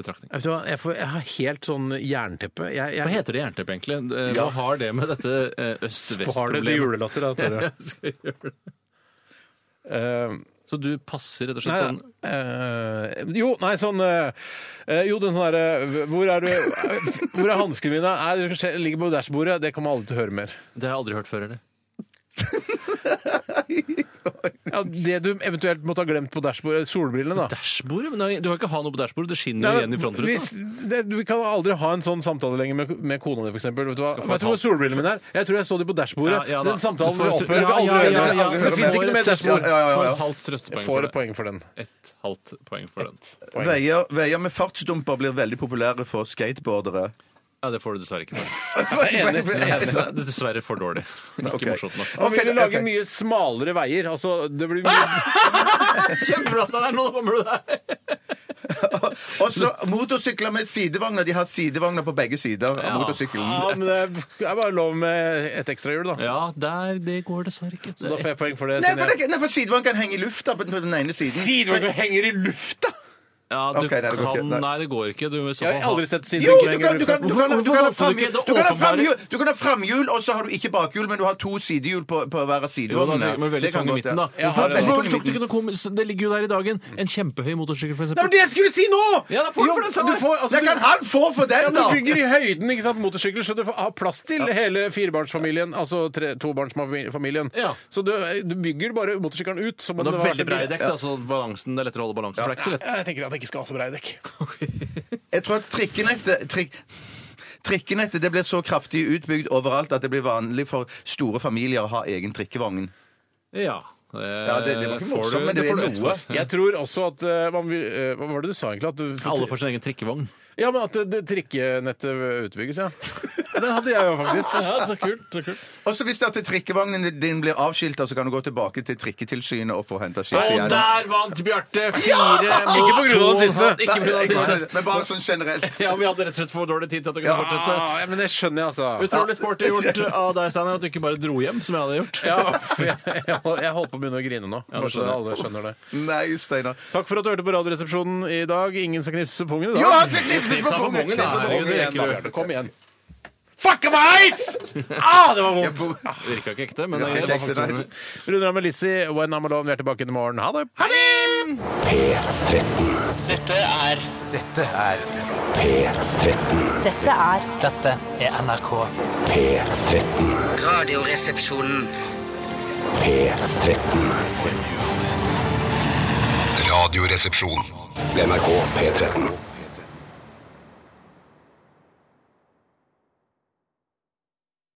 betraktning. Vet du hva, jeg, får, jeg har helt sånn jernteppe. Jeg, Hva jeg, heter det jernteppe, egentlig? Eh, Hva har det med dette eh, Har det til øst-vest-problemet? julelatter, da, Tore? Jeg skal gjøre det. Eh, Så du passer rett og Nei, slett på den? eh, jo, nei, sånn eh, eh, Jo, den sånn derre Hvor er du Eh, Hvor er hanskene mine? Nei, du kan se- ligger på dashbordet. Det kommer alle til å høre mer. Det har jeg aldri hørt før heller. Ja, det du eventuelt måtte ha glemt på dashbordet. Solbrillene, da. Dashbordet? Men Nei, du kan ikke ha noe på dashbordet. Det skinner Nei, jo igjen i frontruta. hvis, det, du kan aldri ha en sånn samtale lenger med, med kona di, f.eks. Vet du hva? Vet få du et hvor solbrillene mine er? Jeg tror jeg så de på dashbordet. Ja, ja da. den samtalen Du får vil et- opphøre. ja, Vi ja, aldri ja, hører ja, mer. ja. Det fins ikke noe mer dashbord. Ja, ja, ja, Får ja. sånn et halvt trøstepoeng Jeg for får et det. poeng for den. Et halvt poeng for den. Veier, veier med fartsdumper blir veldig populære for skateboardere. Altså, Ja, det får du dessverre ikke. for. Jeg er enig. Det er dessverre for dårlig. Ikke morsomt nok. Man Ok, vil lage ok. mye smalere veier. Altså, det blir mye Kjempebra, Steinar! Nå kommer du deg! Også motorsykler med sidevogner. De har sidevogner på begge sider av Ja. motorsykkelen. Ja, men det er bare lov med et ekstra hjul, da. Ja, der, det går dessverre ikke. Så da får jeg poeng for det. Nei, for, det, nei, for sidevogn kan henge i lufta på den- på den ene siden. Sidevogner henger i lufta! Ja, du Ok, nei, det går ikke. kan Nei. Nei, det går ikke. Du må i så Jeg fall har ha- aldri sett Jo, sidevogner henger du kan, du i kan, lufta. du kan, Hvorfor- hvorfor du kan ha hadde du ikke det framhjul, du kan ha åpenbare- framhjul, du kan ha framhjul, og så har du ikke bakhjul, men du har to sidehjul på, på hver av Jo, da, sidevognene. det- men veldig kan tung i godt, ja. midten, da. Ja, Hvorfor, veldig hvorfor tok du tung i midten. Mm. ikke noe komisk? Det ligger jo der i dagen. En kjempehøy motorsykkel, for Det var eksempel. det jeg skulle si nå! Ja, da får du Jo, for den, du Steinar. får- altså, Det kan du- han få for den, Ja, da! du bygger i høyden ikke sant, motorsykler, så du får ha plass til hele firebarnsfamilien. Altså tre, tobarnsfamilien. Ja. Så du, du bygger bare motorsykkelen ut. Som om Men det det var var veldig brei dekk, da, så balansen, det er lettere å holde balansen. For det er ikke så lett. Jeg tenker at jeg ikke skal ha så brei dekk. Jeg tror at trikkenettet trik Trikkenettet det blir så kraftig utbygd overalt at det blir vanlig for store familier å ha egen trikkevogn. Ja, Ja, det, det var ikke morsomt, men det var noe. Jeg tror også at eh, man vil eh, Hva var det du sa egentlig? At du, Alle får sin egen trikkevogn. Ja, men at det, det trikkenettet utbygges, ja. Den hadde jeg jo faktisk. så kult, så kult. Også hvis det at trikkevognen din blir avskilta, så kan du gå tilbake til Trikketilsynet og få henta skiltet Og igjen. der vant Bjarte! Fire mot Ikke på grunn av den to. siste. Ikke på grunn av den siste. Men bare sånn generelt. Ja, vi hadde rett og slett for dårlig tid til at du kunne fortsette. Ah, ja, men det skjønner jeg, altså. Utrolig sporty gjort av deg, Steinar, at du ikke bare dro hjem, som jeg hadde gjort. Ja, for jeg, jeg, hold- jeg holdt på å begynne å grine nå. det Bare så skjønner jeg. alle skjønner det. Nei, Steinar. Takk for at du hørte på Radioresepsjonen i dag. Ingen skal knipse pungen i dag. Jo, han skal knipses på Knipsa på pungen, pungen! da. knipsa på Herregud, pungen. det rekker rekker du. du. Bjarte, Kom igjen. Fuck meg! Ah, det var Jeg vondt. bor- Det virka ikke ekte, men Det virka ikke ekte, nei. Runder av med Lizzie. When I'm alone. Vi er tilbake i morgen. Ha det. Ha det! Dette er Dette er Dette er NRK. Radioresepsjonen. Radioresepsjon. NRK P13.